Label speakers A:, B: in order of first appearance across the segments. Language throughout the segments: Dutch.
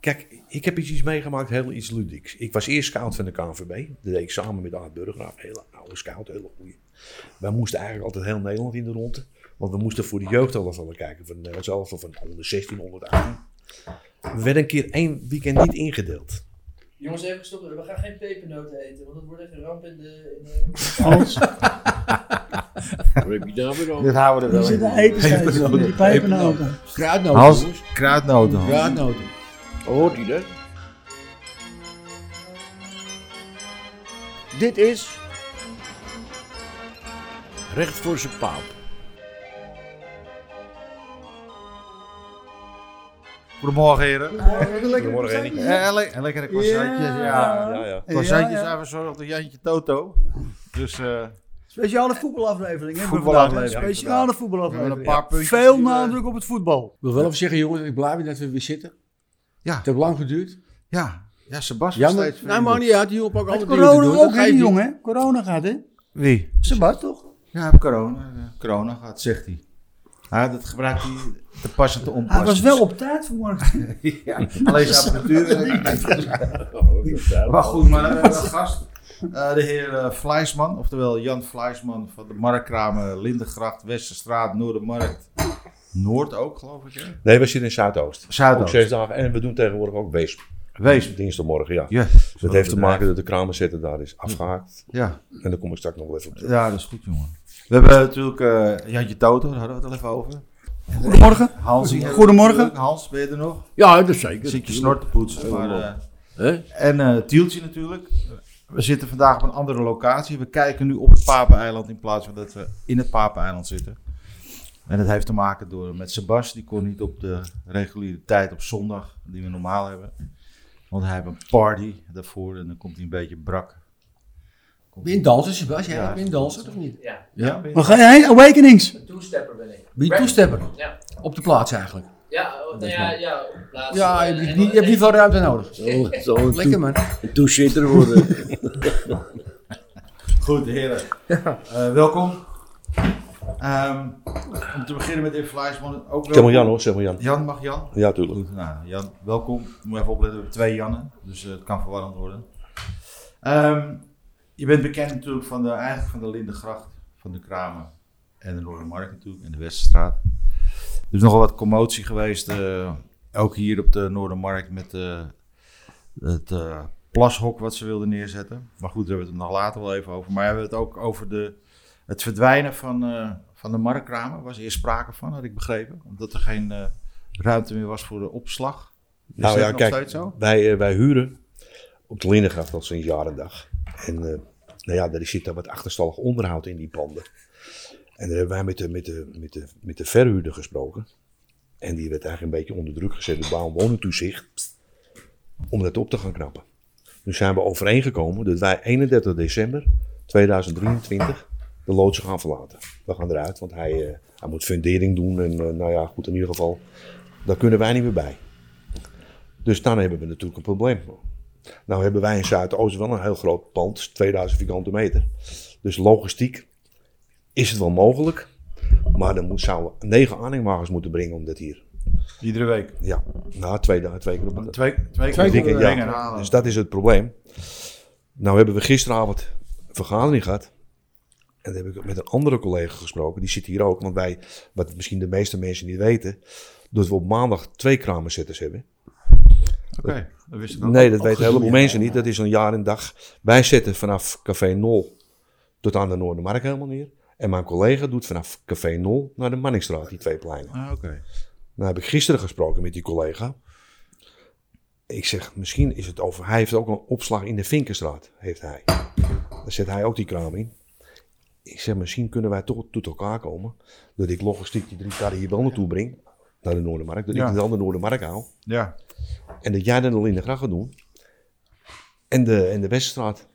A: Kijk, ik heb iets, iets meegemaakt, heel iets ludieks. Ik was eerst scout van de KNVB. Dat deed ik samen met Aad Burgraaf. Hele oude scout, hele goeie. Wij moesten eigenlijk altijd heel Nederland in de ronde. Want we moesten voor de jeugdelftallen kijken. Van Nederlands elftal van 116, 118. We werden een keer één weekend niet ingedeeld.
B: Jongens, even stoppen. We gaan geen pepernoten eten, want het wordt echt een ramp in de... In de...
C: Als,
D: Wat heb je daar
E: nou
D: weer
F: Dit
D: over?
F: houden we
C: er
F: er
C: zitten
F: wel in.
C: etenstijd in die nou pepernoten.
D: Kruidnoten,
F: Hans,
D: jongens.
F: kruidnoten. Hans.
D: Kruidnoten. Hoort u dat? Dit is... Recht voor zijn paap.
F: Goedemorgen heren.
A: Goedemorgen, Henny.
F: Eh, le- eh, lekkere croissantjes.
C: Ja.
F: Ja.
A: Ja, ja.
F: Croissantjes
C: Ja, ja.
F: zijn verzorgd door Jantje Toto. Dus eh,
C: Speciale voetbalaflevering. hè,
F: Voetbalaflevering,
C: vandaag. Speciale
F: inderdaad. we hebben een
C: voetbalaflevering.
F: paar puntjes.
C: Veel
F: die
E: eh,
F: we-
C: nadruk op het voetbal.
E: Ik wil wel even zeggen, jongens, ik blij ben dat we weer zitten.
F: Ja.
E: Het heeft lang geduurd.
F: Ja, ja Sebastian
E: Jammer.
F: steeds
D: Nou,
G: Oh,
D: maar niet uit. Die jongen ook
C: Had
D: alle dingen te
C: corona
D: doen. Dat
C: ook, hè,
D: geeft
C: die
D: niet.
C: jongen? hè? Corona gaat, hè?
F: Wie?
C: Sebat, toch?
F: Ja, heb corona. Eh, Corona gehad, zegt hij. Ja, dat gebruikt hij te pas en te onpas.
C: Hij was wel op tijd vanmorgen.
F: Ja, alleen zijn apparatuur. eh, maar goed, maar dan hebben we een gast. Eh, de heer eh, Vlijsman, oftewel Jan Vlijsman van de Markkramen, Lindengracht, Westerstraat, Noordermarkt. Noord ook, geloof ik. Hè?
A: Nee, we zitten in Zuidoost. Ook
F: Zuidoost.
A: zes dagen. En we doen tegenwoordig ook Wees.
F: Wees.
A: Dinsdagmorgen, ja.
F: Ja,
A: Dat heeft te maken dat de kraamzetter daar is afgehaakt.
F: Ja,
A: En daar kom ik straks nog wel even op terug.
F: ja, dat is goed, jongen. We hebben natuurlijk eh, Jantje Toto, daar hadden we het al even over.
C: Goedemorgen.
F: Hansie.
C: Goedemorgen.
F: Hans, ben je er nog?
D: Ja, dat zeker.
F: Zit je snor te poetsen. Maar, eh,
D: Hè?
F: En eh, Tieltje natuurlijk. We zitten vandaag op een andere locatie. We kijken nu op het Papeneiland in plaats van dat we in het Papeneiland zitten. En dat heeft te maken door, met Sebas. Die kon niet op de reguliere tijd op zondag, die we normaal hebben. Want hij heeft een party daarvoor en dan komt hij een beetje brak. Komt
E: Ben je een danser, Sebastian?
F: Ja.
E: Ja, ben je een danser of niet?
B: Ja,
F: Ja, ben je-
C: We gaan heen. Awakenings.
B: een toestepper ben ik.
E: Ben je een toestepper?
B: Ja.
E: Op de plaats eigenlijk.
B: Ja, oh, nou ja, ja, op plaats.
E: Ja, je
B: eh,
E: hebt
B: en-
E: niet, je hebt niet veel ruimte nodig.
D: Zo, zo een
E: Lekker man.
D: toe- toezitter worden.
F: Goed, heren. Eh, welkom. Ehm, om te beginnen met de Fleischman. Ook
A: Zeg
F: welkom.
A: maar Jan hoor, zeg maar Jan.
F: Jan, mag Jan?
A: Ja, tuurlijk.
F: Goed, nou, Jan, welkom. Moet je even opletten, we hebben twee Jannen, dus eh, het kan verwarrend worden. Ehm, je bent bekend natuurlijk van de, eigenlijk van de Lindengracht, van de Kramen en de Noordermarkt natuurlijk en de Westerstraat. Er is nogal wat commotie geweest, eh, ook hier op de Noordermarkt met eh, het eh, plashok wat ze wilden neerzetten. Maar goed, daar hebben we het nog later wel even over. Maar we hebben het ook over de, het verdwijnen van, eh, van de marktramen. Was eerst sprake van, had ik begrepen, omdat er geen... eh, ruimte meer was voor de opslag. Is
A: Nou
F: dat
A: ja,
F: nog
A: kijk,
F: steeds zo?
A: Wij, eh, wij huren op de Lindengracht al sinds jaren dag. En eh, nou ja, daar zit dan wat achterstallig onderhoud in die panden. En daar hebben wij met de, met de, met de, met de verhuurder gesproken. En die werd eigenlijk een beetje onder druk gezet door bouw- en woningtoezicht. Om dat op te gaan knappen. Nu zijn we overeengekomen dat wij 31 december 2023 de loods gaan verlaten. We gaan eruit, want hij, eh, hij moet fundering doen. En eh, nou ja, goed, in ieder geval, daar kunnen wij niet meer bij. Dus dan hebben we natuurlijk een probleem. Nou hebben wij in Zuidoost wel een heel groot pand, 2000 vierkante meter. Dus logistiek is het wel mogelijk, maar dan moet, zouden we negen aanhangwagens moeten brengen om dat hier.
F: Iedere week.
A: Ja, nou twee, dagen- twee keer op een
F: Twee, twee
A: twee
F: keer
A: keer,
F: dingen
A: ja.
F: halen.
A: Dus dat is het probleem. Nou hebben we gisteravond een vergadering gehad. En daar heb ik met een andere collega gesproken. Die zit hier ook. Want wij, wat misschien de meeste mensen niet weten, dat we op maandag twee kramenzetters hebben.
F: Oké, dat wist ik ook.
A: Nee, dat weten
F: Opgezocht.
A: een heleboel mensen niet. Dat is een jaar en dag. Wij zetten vanaf Café 0 tot aan de Noordermarkt helemaal neer. En mijn collega doet vanaf Café 0 naar de Manningstraat, die twee pleinen.
F: Ah, Oké.
A: Nou heb ik gisteren gesproken met die collega. Ik zeg, misschien is het over... Hij heeft ook een opslag in de Vinkenstraat, heeft hij. Daar zet hij ook die kraam in. Ik zeg, misschien kunnen wij toch tot elkaar komen. Dat ik logistiek die drie karren hier wel naartoe breng. Naar de Noordermarkt. Dat
F: Ja.
A: ik het dan de Noordermarkt haal.
F: Ja.
A: En dat jij dan al in de gracht gaat doen. En de, en de Weststraat.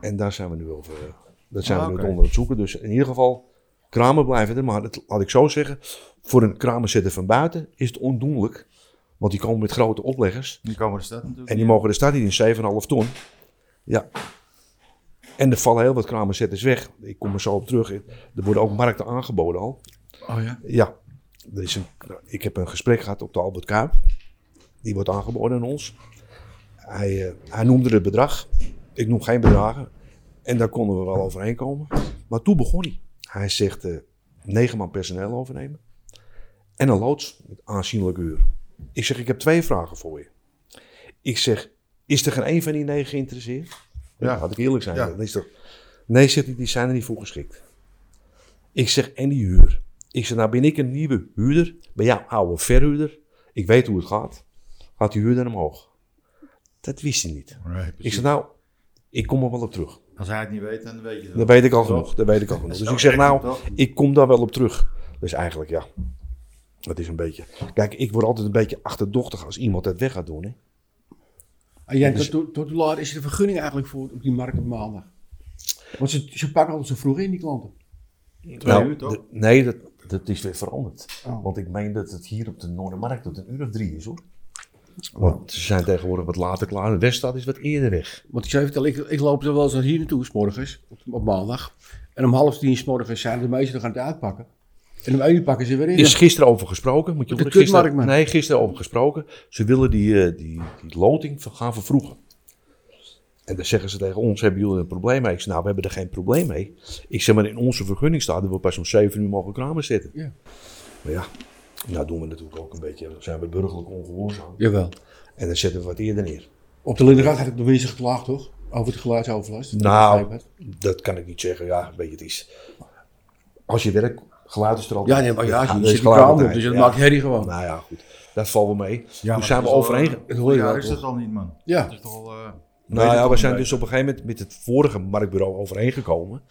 A: En daar zijn we nu over. eh, Dat zijn
F: Ah,
A: we nu
F: oké.
A: onder het zoeken. Dus in ieder geval, kramen blijven er. Maar dat, laat ik zo zeggen, voor een kramenzetter van buiten is het ondoenlijk. Want die komen met grote opleggers.
F: Die komen de stad natuurlijk.
A: En die mogen de stad niet in 7,5 ton. Ja. En er vallen heel wat kramenzetters weg. Ik kom er zo op terug. Er worden ook markten aangeboden al.
F: Oh ja.
A: Ja, er is een, ik heb een gesprek gehad op de Albert Kuip. Die wordt aangeboden aan ons. Hij, eh, hij noemde het bedrag. Ik noem geen bedragen. En daar konden we wel overheen komen. Maar toen begon hij. Hij zegt eh, negen man personeel overnemen. En een loods met aanzienlijk uur. Ik zeg, ik heb twee vragen voor je. Ik zeg, is er geen één van die negen geïnteresseerd? Ja,
F: Ja.
A: had ik eerlijk zijn.
F: Ja.
A: Dan is toch... Nee, zegt hij, die zijn er niet voor geschikt. Ik zeg, en die huur? Ik zeg, nou ben ik een nieuwe huurder. Ben jou oude verhuurder. Ik weet hoe het gaat. Gaat die huur dan omhoog? Dat wist hij niet.
F: Nee,
A: Ik
F: precies.
A: zeg, nou, ik kom er wel op terug.
F: Als hij het niet weet, dan weet je dat.
A: Dat weet ik al genoeg. Dat weet ik al genoeg. Dus ik zeg, nou, ik kom daar wel op terug. Dus eigenlijk, ja. Dat is een beetje. Kijk, ik word altijd een beetje achterdochtig als iemand dat weg gaat doen. Hè?
G: En Jan, Ah, tot, tot, tot hoe laat is er een vergunning eigenlijk voor op die markt op maandag? Want ze, ze pakken altijd zo vroeg in, die klanten.
F: Twee uur, toch?
A: Nou, d- nee, dat, dat is weer veranderd.
G: Oh.
A: Want ik meen dat het hier op de Noordermarkt tot een uur of drie is hoor.
F: Oh.
A: Want ze zijn tegenwoordig wat later klaar. De Weststad is wat eerder weg.
G: Want ik zou je vertellen, ik, ik loop er wel eens hier naartoe, s morgens, op, op maandag. En om half tien s morgens zijn de meesten gaan het uitpakken. En om één uur pakken ze weer in.
A: Er is gisteren over gesproken. Moet je
G: Met de
A: horen, gisteren,
G: kutmarkt, man.
A: Nee, gisteren over gesproken. Ze willen die, eh, die, die loting ver- gaan vervroegen. En dan zeggen ze tegen ons, hebben jullie een probleem mee? Ik zeg, nou, we hebben er geen probleem mee. Ik zeg, maar in onze vergunning staat dat we pas om 7 uur mogen kramen zitten.
G: Ja.
A: Maar ja, nou doen we natuurlijk ook een beetje, dan zijn we burgerlijk ongehoorzaam.
G: Jawel.
A: En dan zetten we wat eerder neer.
G: Op de Lindengracht had ik nog eens geklaagd, toch? Over het geluidsoverlast. Dat
A: Nou.
G: ik begrepen
A: Dat kan ik niet zeggen, ja, weet je, het is... Als je werkt, geluid is er
G: had.
A: altijd.
G: Ja, nee, maar ja,
A: Dat
G: je
A: is
G: zit die
A: geluid
G: kamer op,
A: altijd,
G: dus dat
A: ja.
G: maakt herrie gewoon.
A: Nou ja, goed, dat valt wel mee.
F: Ja,
A: Toen zijn we overeen...
G: Dat hoor je
F: Ja,
G: wel,
F: is
G: toch?
F: dat al niet, man.
G: Ja.
F: Dat is toch al... eh, weet
A: Nou
F: het
A: ja,
F: al
A: we zijn
F: een
A: dus op een gegeven moment met het vorige marktbureau overeengekomen.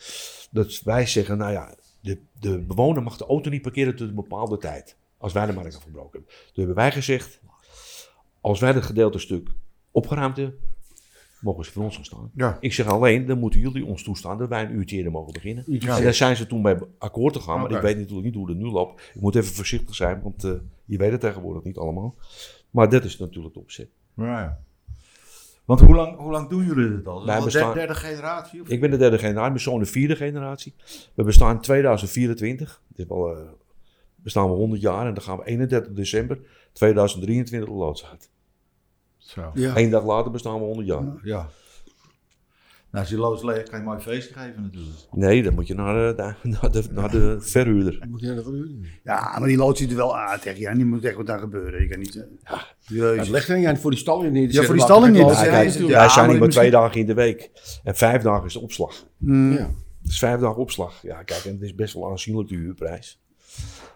A: Dat wij zeggen, nou ja, de, de bewoner mag de auto niet parkeren tot een bepaalde tijd. Als wij de markt afgebroken hebben. Toen hebben wij gezegd, als wij dat gedeelte stuk opgeruimd hebben, mogen ze voor ons gaan staan.
F: Ja.
A: Ik zeg alleen, dan moeten jullie ons toestaan dat wij een uurtje eerder mogen beginnen.
G: Uurtje
A: en daar zijn ze toen bij akkoord gegaan, maar
F: Oké.
A: ik weet natuurlijk niet hoe dat nu loopt. Ik moet even voorzichtig zijn, want eh, je weet het tegenwoordig niet allemaal. Maar dat is natuurlijk de opzet.
F: Ja, ja. Want hoe lang, hoe lang doen jullie dit al? Is
A: Wij
F: het al
A: bestaan-
F: de derde generatie? Of?
A: Ik ben de derde generatie, mijn zoon de vierde generatie. We bestaan in 2024. Dit is wel, eh, bestaan we 100 jaar en dan gaan we 31 december 2023 op loods uit.
F: Zo.
G: Ja.
A: Eén dag later bestaan we 100 jaar.
F: Ja. Nou, als je loods leeg, kan je een mooi feestje geven natuurlijk.
A: Nee, dan moet je naar, eh, de, naar, de, naar de verhuurder.
G: Moet je naar de vergunning.
C: Ja, maar die lood ziet er wel uit. Zeg, ja, die moet echt wat daar gebeuren. Je kan niet... eh, Ja,
G: Dat legt er niet aan voor die stalling niet.
C: Ja, voor die stalling niet.
A: Ja,
C: Ja,
A: kijk,
C: natuurlijk.
A: wij
C: Ja,
A: zijn hier
C: maar
A: maar twee dagen in de week. En vijf dagen is de opslag.
G: Ja.
A: Het is vijf dagen opslag. Ja, kijk, en het is best wel aanzienlijk de huurprijs.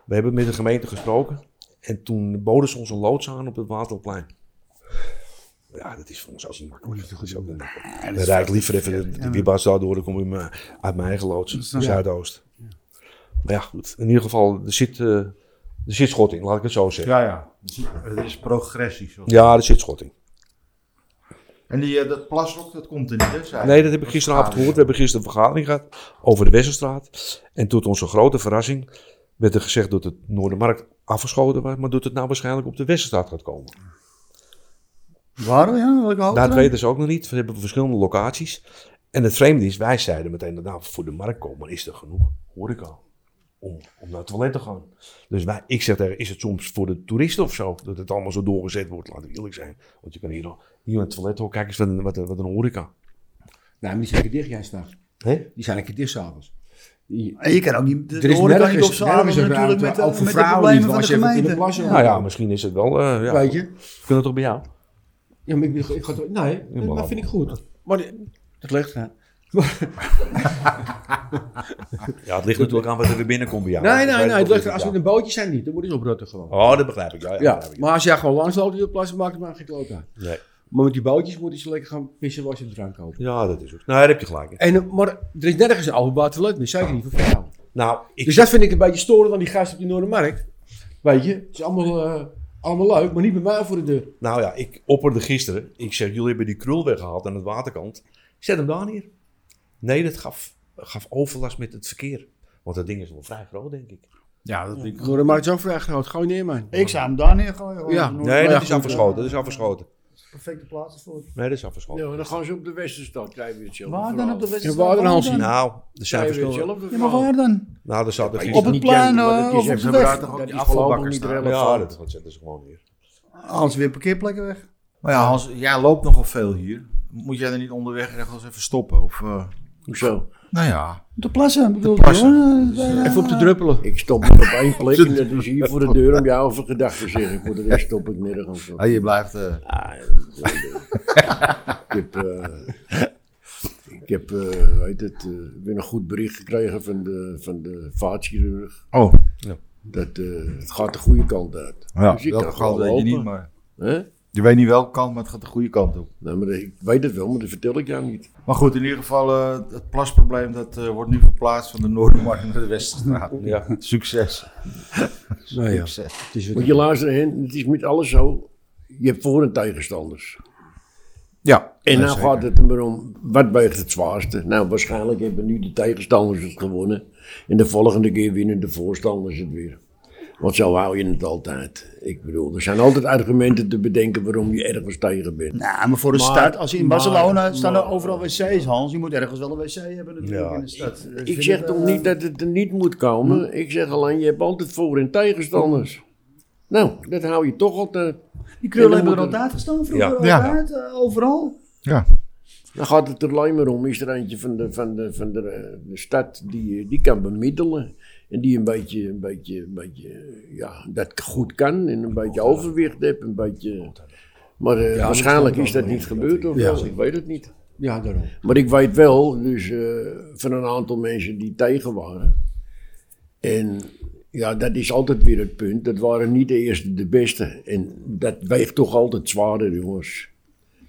A: We hebben met de gemeente gesproken. En toen boden ze ons een loods aan op het Waterplein. Ja, dat is voor ons ook niet makkelijk. Dat is ook niet makkelijk. Dan rijd ik liever even de- de Wibbas daar door. Dan kom ik me- uit mijn eigen loods, Zuidoost. Maar ja, goed. In ieder geval, er zit, eh, er zit schot in, laat ik het zo zeggen.
F: Ja, ja. Het is progressie. Zoals.
A: Ja, er zit schot in.
F: En die, eh, dat plasrok, dat komt er niet, hè? zei
A: Nee,
F: je?
A: dat heb ik
F: is
A: gisteravond
F: gaaf.
A: gehoord. We hebben gisteren een vergadering gehad over de Westerstraat. En tot onze grote verrassing werd er gezegd dat het Noordermarkt afgeschoten was, maar dat het nou waarschijnlijk op de Westerstraat gaat komen. Nou,
C: Waar? Ja, welke hoogte
A: Dat
C: dan?
A: weten ze ook nog niet. We hebben verschillende locaties. En het vreemde is, wij zeiden meteen dat nou, voor de markt komen is er genoeg horeca om, om naar het toilet te gaan. Dus wij, ik zeg tegen, is het soms voor de toeristen of zo dat het allemaal zo doorgezet wordt? Laten we eerlijk zijn. Want je kan hier, al- hier aan het toilet hoor, kijk eens wat een, wat een, wat een horeca.
G: Nou, maar die zijn een keer dicht, jij s'nachts.
A: Hè?
G: Die zijn een keer dicht s'avonds.
C: En je kan ook niet... De,
G: Er is
C: horeca niet
G: nergens,
C: op z'n avond
G: nergens een ruimte,
C: natuurlijk met, de-
G: ook voor
C: met de
G: vrouwen niet,
C: problemen van
G: waar
C: de
G: ze even
C: gemeente.
G: kunnen plassen.
A: Nou ja, misschien is het wel. eh ja.
G: Weet je?
A: Kunnen we toch bij jou?
G: Ja, maar ik, ik ga toch... Nee, dat, dat vind ik goed. Maar die- dat ligt eraan.
A: Ja, het ligt natuurlijk aan wat er weer binnenkomt bij jou.
G: nee, nee, nee. Het ligt eraan. Als we
A: Ja.
G: in een bootje zijn niet, dan moet je oprotten gewoon.
A: Oh, dat begrijp ik. Ja, ja,
G: Ja,
A: begrijp ik.
G: maar als jij gewoon langsloopt in de plas, maakt het maar geen kloot uit.
A: Nee.
G: Maar met die bootjes moeten ze lekker gaan pissen, wassen en drank kopen.
A: ja, dat is ook. Nou, daar heb je gelijk. in.
G: En, eh, maar er is nergens een openbaar toilet meer, zeker niet voor vrouwen.
A: Nou, ik,
G: Dus dat vind ik een beetje storend aan die gasten op die Noordermarkt. Weet je, het is allemaal, eh, allemaal leuk, maar niet bij mij voor de deur.
A: nou ja, ik opperde gisteren. Ik zeg, jullie hebben die krul weggehaald aan het waterkant. Zet hem daar neer. Nee, dat gaf, gaf overlast met het verkeer. Want dat ding is wel vrij groot, denk ik.
G: Oh,
F: Ja, dat vind ik
G: De Noordermarkt is ook vrij groot, gooi neer man.
C: Ik zou hem daar neergooien. gewoon.
G: Ja.
C: Noord-
A: Nee,
G: ja,
A: dat
G: goed,
A: is afgeschoten. Dat is afgeschoten.
C: Perfecte plaats voor.
A: Nee, dat is afgeschoten.
E: Ja, maar dan gaan ze op de Westenstad, krijgen we hetzelfde
C: Waar dan op de
G: Ja,
C: wedstrijd?
G: waar dan, Hansie?
A: Nou, er zijn
E: Krijgen we
A: verschillende.
E: hetzelfde
C: Ja, maar
E: verhaal.
C: waar dan?
A: Nou, er zaten
E: Ja,
A: gisteren.
C: Op het
E: Jan,
C: plein
E: maar
C: eh,
E: dat is
C: of op
E: even
C: de
F: Hebben we
C: weg?
F: daar toch ook
E: Dat
F: die
E: is voorlopig
F: afvalbakken
E: niet
F: staan?
E: relevant.
A: Ja, dat, dat zetten ze gewoon neer.
C: Anders weer parkeerplekken weg.
F: Maar ja, Hans, jij loopt nogal veel hier. Moet jij er niet onderweg echt wel eens even stoppen? Of, eh,
E: Hoezo?
F: nou ja.
C: De plassen bedoel
F: De plassen.
C: ik, hoor.
G: Even op de druppelen.
E: Ik stop niet op één plek en dat is hier voor de deur om jou over gedachten te zeggen. Voor de rest stop ik nergens op.
F: Ah, je blijft... eh,
E: Ik heb, eh, ik heb eh, weet het, eh, weer een goed bericht gekregen van de, van de vaatchirurg.
F: Oh,
E: Dat eh, het gaat de goede kant uit.
F: ja,
E: Dus ik
F: welke
E: kan
F: kant
E: gewoon
F: weet je niet,
E: lopen.
F: maar...
E: Hè?
F: Je weet niet welke kant, maar het gaat de goede kant op.
E: Nou, maar ik weet het wel, maar dat vertel ik jou niet.
F: Maar goed, in ieder geval, eh, het plasprobleem dat, eh, wordt nu verplaatst van de Noordermarkt naar de Westerstraat.
A: Ja.
F: Succes.
G: Nou ja,
F: Succes.
G: het is
E: Want
G: weer...
E: je luistert, hè, het is met alles zo. Je hebt voor- en tegenstanders.
F: Ja.
E: En
F: ja,
E: nou
F: zeker.
E: gaat het er maar om, wat weegt het zwaarste? Nou, waarschijnlijk hebben nu de tegenstanders het gewonnen. En de volgende keer winnen de voorstanders het weer. Want zo hou je het altijd. Ik bedoel, er zijn altijd argumenten te bedenken waarom je ergens tegen bent.
C: Nou, maar voor de
E: Maar-
C: stad, als je in
E: maar-
C: Barcelona staan er
E: maar-
C: overal wc's, Hans. Je moet ergens wel een wc hebben natuurlijk
A: Ja.
C: in de stad. Dus
E: Ik
C: vind
E: zeg
C: het,
E: toch
C: eh,
E: niet dat het er niet moet komen. Ik zeg alleen, je hebt altijd voor- en tegenstanders. Nou, dat hou je toch altijd.
C: Die
E: En
C: krullen
E: dan
C: hebben er
E: moet
C: altijd gestaan vroeger,
F: Ja.
C: altijd, eh, overal.
F: Ja.
E: Dan gaat het er alleen maar om, is er eentje van de, van de, van de, eh, de stad die, eh, die kan bemiddelen. En die een beetje, een beetje, een beetje, eh, ja, dat goed kan. En een beetje overwicht heeft, een beetje... Maar eh,
G: dat
E: waarschijnlijk
G: kan
E: is dat
G: wel,
E: niet
G: ja.
E: gebeurd of
G: Ja.
E: wel, ik weet het niet.
G: Ja, daarom.
E: Maar ik weet wel, dus eh, van een aantal mensen die tegen waren. En ja, dat is altijd weer het punt. Dat waren niet de eerste, de beste. En dat weegt toch altijd zwaarder, jongens.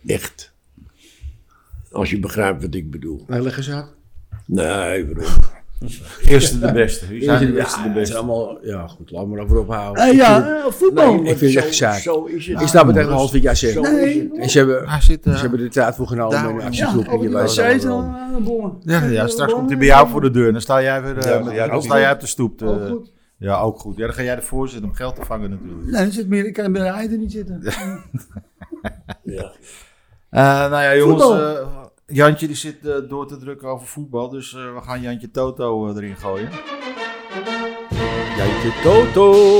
E: Echt. Als je begrijpt wat ik bedoel.
G: Nou, leg eens uit.
E: Nee, bro.
F: Eerste de beste. Wie zijn de eerste de
G: het is
F: beste?
G: allemaal... Ja, goed, laat maar over ophouden.
C: Eh, ja, eh, voetbal.
G: Nee, ik vind het echt saai.
E: Zo is het.
G: Ik sta me tegen Hans wat jij zegt.
E: Zo is het. Oh,
G: En ze hebben,
F: Hij zit...
G: ze
F: eh,
G: hebben de tijd voor genomen
F: Daar-
G: en een
C: ja,
G: actiegroep. en
C: ook
G: je
C: die
G: weet
C: wc's
G: wel
C: en eh,
G: waarom.
C: aan bommen.
F: ja, ja, straks komt hij bij jou voor de deur. Dan sta jij weer... eh,
A: Ja,
F: met-
A: ja,
F: dan sta jij op de stoep. te-
C: Ook goed.
F: Ja, ook goed. Ja, dan ga jij ervoor zitten om geld te vangen natuurlijk.
C: Nee, er zit meer, ik kan bij de eider niet zitten.
E: Ja.
F: Eh, nou ja, jongens.
C: Voetbal.
F: eh, Jantje die zit eh, door te drukken over voetbal. Dus eh, we gaan Jantje Toto eh, erin gooien.
G: Jantje Toto.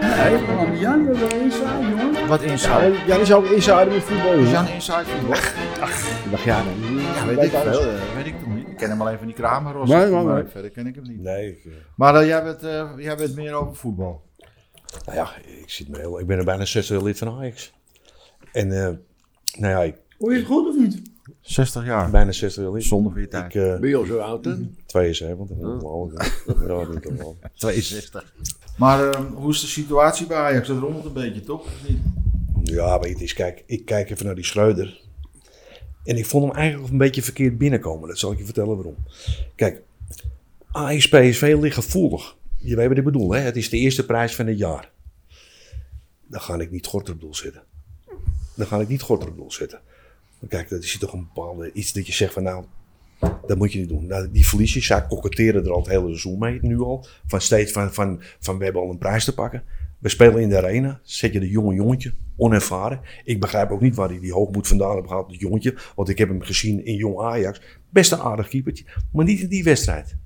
C: Nee, man, Jan, we hebben een saai, jongen.
F: Wat
G: Ja,
F: inside?
G: dat- Jan is ook insider met voetbal.
F: Is
G: dus
F: Jan
G: Jan-
F: inside voetbal?
G: Ik dacht, ja, nee.
F: Ja, weet ik veel. eh, weet ik toch niet. Ik ken hem alleen van die Kramer.
G: Nee, nee, nee.
F: Verder ken ik hem niet.
A: Nee, ik, eh,
F: Maar eh, jij, bent, eh, jij bent meer over voetbal.
A: nou ja, ik, zit me heel, ik ben er bijna 60 lid van Ajax. En eh, nou ja, ik,
C: Hoor je het goed of niet?
F: 60 jaar.
A: bijna 60 lid.
F: Zonder voor je
A: Ik,
F: tijd.
A: eh
E: Ben je al zo oud, hè?
G: Mhm.
A: 72, dat moet ik wel. Dat moet ik wel.
F: 62. Maar eh, hoe is de situatie bij Ajax? Dat rommelt een beetje, toch? Of niet? Oh.
A: Ja, weet je, het is, kijk, ik kijk even naar die Schreuder. En ik vond hem eigenlijk een beetje verkeerd binnenkomen. Dat zal ik je vertellen waarom. Kijk, ASP is veel lichtgevoelig. Je weet wat ik bedoel, hè? Het is de eerste prijs van het jaar. Dan ga ik niet Gorterdoel zitten. Dan ga ik niet Gorterdoel zitten. Maar Kijk, dat is toch een bepaalde iets dat je zegt van nou, dat moet je niet doen. Nou, die verliesjes, zij koketteren er al het hele seizoen mee, nu al. Van steeds van, van, van we hebben al een prijs te pakken. We spelen in de arena, zet je de jonge jongetje, onervaren. Ik begrijp ook niet waar hij die hoogmoed vandaan heeft gehaald, dat jongetje. Want ik heb hem gezien in jong Ajax. Best een aardig keepertje, maar niet in die wedstrijd.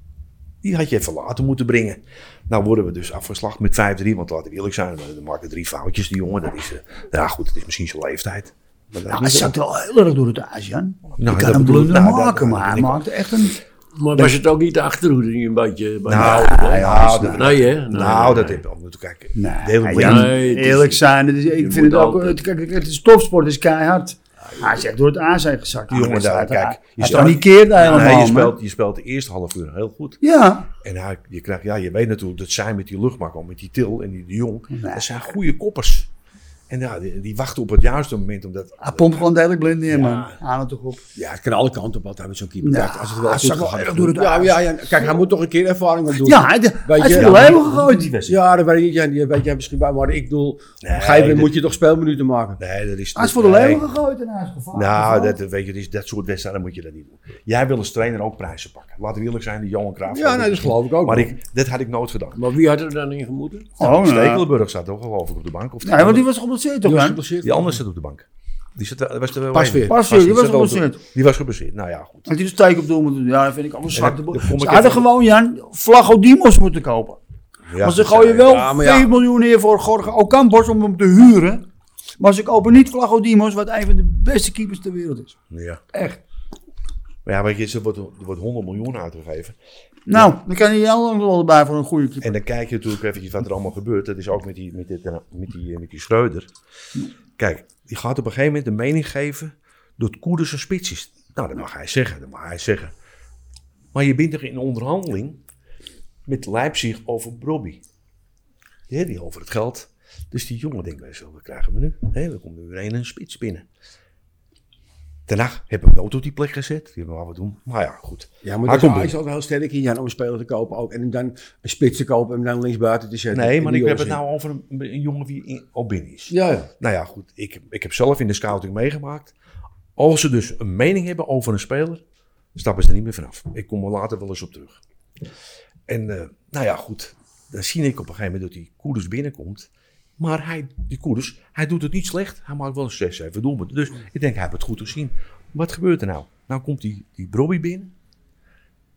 A: Die had je even later moeten brengen. Nou worden we dus afgeslacht met 5-3. Want laten we eerlijk zijn, we maken drie foutjes, die jongen. Dat is, eh, nou goed, het is misschien zijn leeftijd. Maar dat is
C: Nou,
A: niet
C: hij zat wel heel erg door het aas, Jan.
A: dat
C: je kan
A: bedoel
C: een
A: ik.
C: blunder
A: Nou, dat-
C: maken,
A: dat-
C: maar hij
A: ik-
C: maakte echt een...
E: Maar was het ook niet de achterhoede die een beetje... bij
A: Nou,
E: jou-
A: nou, nou, dat-
E: nee, hè? Nee,
A: nou, dat
E: nee.
A: heb ik ook natuurlijk. Kijk,
C: Nee,
A: de hele
C: ja,
A: wereld-
E: Nee, het is-
C: eerlijk zijn, het is,
E: je
C: ik
E: moet
C: vind het ook...
E: altijd-
C: Het, kijk, het is topsport, het is keihard. Hij is echt door het aas heen gezakt. die
A: Jongen,
C: jongen.
A: daar,
C: Hij-
A: kijk,
C: hij-
A: je
C: Hij
A: staat-
C: panikeerde helemaal,
A: Nee, je
C: man.
A: speelt, je speelt de eerste half uur heel goed.
C: Ja,
A: En hij, je, krijgt, ja, je weet natuurlijk dat zij met die luchtmaker, met die Til en die de Jong,
C: Nee.
A: dat zijn goede koppers. En ja, die, die wachten op het juiste moment. Omdat,
C: hij pompt gewoon duidelijk blind in, man. Aan het toch op.
G: Ja, het kan alle kanten op altijd met zo'n keeper.
C: Ja,
G: Kijk, als het wel
C: hij
G: goed
C: zag wel
G: gaat,
C: erg
G: goed.
C: door het
G: ja,
C: aas.
G: ja, ja, kijk, hij moet toch een keer ervaring op doen.
C: Ja, hij, hij
G: je-
C: is
G: Ja,
C: door de hemel
A: maar-
C: gegooid.
G: Ja, dat weet, ik, ja, dat weet jij misschien bij, maar ik bedoel, op een gegeven moment
A: dit-
G: moet je toch speelminuten maken.
A: nee, dat is,
C: Hij is voor de
A: nee.
C: leeuwen gegooid en hij is gevallen.
A: Nou, dat, weet je, dat, is- dat soort wedstrijden moet je dat niet doen. Jij wil als trainer ook prijzen pakken. Laten we eerlijk zijn, de Johan Cruijff.
G: Ja, nee, dat geloof ik ook.
A: Maar
G: wel.
A: ik, dat had ik nooit gedacht.
E: Maar wie had er dan in gemoeten?
C: Oh, nou.
A: Stekelenburg zat toch geloof ik op de bank. Of
C: Nee, want die was geblesseerd
G: Die
C: toch,
G: was
C: man?
G: geblesseerd.
A: die anders zat op de bank. Die zat, er- was er wel
E: Pasveer.
A: een.
C: Pasveer, die was
A: zat wel-
C: geblesseerd.
A: Die was geblesseerd. Nou ja, goed.
C: Dat hij de steek op doel moet doen. Ja, dat vind ik allemaal zwarte
A: dan-
C: boel.
A: dan kom
C: Ze
A: ik
C: hadden
A: even-
C: gewoon, Jan, Flago Dimos moeten kopen.
A: Ja,
C: maar ze
A: dat
C: gooien
A: zei-
C: wel
E: Ja, maar
C: 2
E: ja.
C: miljoen neer voor Jorge Ocampos om hem te huren. Maar ze kopen niet Flago Dimos, wat een van de beste keepers ter wereld is.
A: Ja.
C: Echt.
A: Maar ja, weet je, er wordt, er wordt 100 miljoen uitgegeven.
C: Nou, dan kan hij heel lang wel erbij voor een goede keeper.
A: En dan kijk je natuurlijk eventjes wat er allemaal gebeurt. Dat is ook met die, met dit, eh, met die, met die Schreuder. Kijk, die gaat op een gegeven moment een mening geven dat Koerders een spits is. Nou, dat mag hij zeggen, dat mag hij zeggen. Maar je bent toch in onderhandeling met Leipzig over Brobby. Ja, die over het geld. Dus die jongen denkt bij zo, we krijgen we nu? Hé, we komen nu weer een, een spits binnen. Daarna hebben we hem wel op die plek gezet. Die hebben we wat doen. Maar ja, goed.
E: Ja, maar
A: Hij
E: dat is
A: komt
E: Ajax altijd heel sterk in Jan om een speler te kopen ook. En dan een spits te kopen en dan linksbuiten te zetten.
A: Nee,
E: En
A: maar
E: die
A: ik heb het
E: jongens
A: nou over een, een jongen die in, al binnen is.
E: in. Ja, ja.
A: Nou ja, goed. Ik, ik heb zelf in de scouting meegemaakt. Als ze dus een mening hebben over een speler, stappen ze er niet meer vanaf. Ik kom er later wel eens op terug. En eh, nou ja, goed. Dan zie ik op een gegeven moment dat die Koeders binnenkomt. Maar hij, die Koeders, hij doet het niet slecht. Hij maakt wel een 6, 7 doelpunten. Dus ik denk, hij heeft het goed gezien. Wat gebeurt er nou? Nou komt die, die Robbie binnen.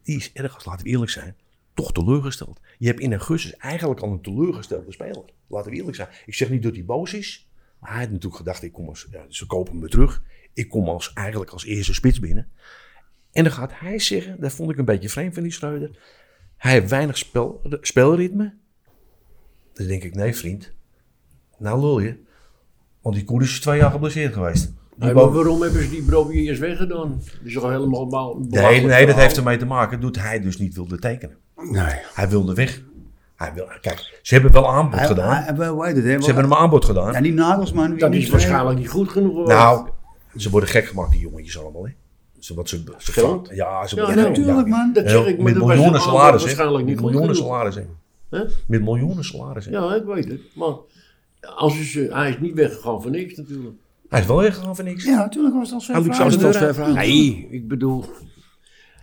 A: Die is ergens, laten we eerlijk zijn, toch teleurgesteld. Je hebt in augustus eigenlijk al een teleurgestelde speler. Laten we eerlijk zijn. Ik zeg niet dat hij boos is. Maar hij had natuurlijk gedacht, ik kom als, ja, ze kopen me terug. Ik kom als, eigenlijk als eerste spits binnen. En dan gaat hij zeggen, dat vond ik een beetje vreemd van die Schreuder. Hij heeft weinig spel, spelritme. Dan denk ik, nee vriend, nou lul je. Want die Koerders is twee jaar geblesseerd geweest. Die
G: Hey, maar
A: boven-
G: waarom hebben ze die Brobby eerst weggedaan? Dat is toch helemaal baal-
A: Nee,
G: belachelijk
A: nee, dat
G: verhaal?
A: heeft ermee te maken dat hij dus niet wilde tekenen.
E: Nee.
A: Hij wilde weg. Hij wil, kijk, ze hebben wel aanbod
C: Hij-
A: gedaan.
C: hij- hij- hoe heet het, hè?
A: ze hebben hem aanbod gedaan.
C: Ja, die Nagelsman. wie-
G: Dat
C: die-
G: is waarschijnlijk niet goed genoeg. geweest.
A: nou, ze worden gek gemaakt, die jongetjes allemaal. Hè. Ze, wat ze, ze
G: Geld?
A: Ja, ze
G: Ja,
A: worden gek,
C: natuurlijk, man.
G: Dat zeg ik, maar
A: met
G: dat was
A: miljoenen
G: allemaal
A: salaris. hè.
G: waarschijnlijk niet
A: Met
G: goed
A: miljoenen
G: genoeg.
A: salaris. hè.
G: Hè?
A: Met miljoenen salaris. hè.
G: Ja, ik weet het. Maar als is, eh, hij is niet weggegaan voor niks natuurlijk.
A: Hij is wel weggegaan voor niks.
C: Ja, natuurlijk was dat
A: Hij
C: zo'n
A: liep
C: vraag.
A: zo-
E: Dat
A: de
E: was
A: deur
E: een vraag.
G: Nee, ik bedoel,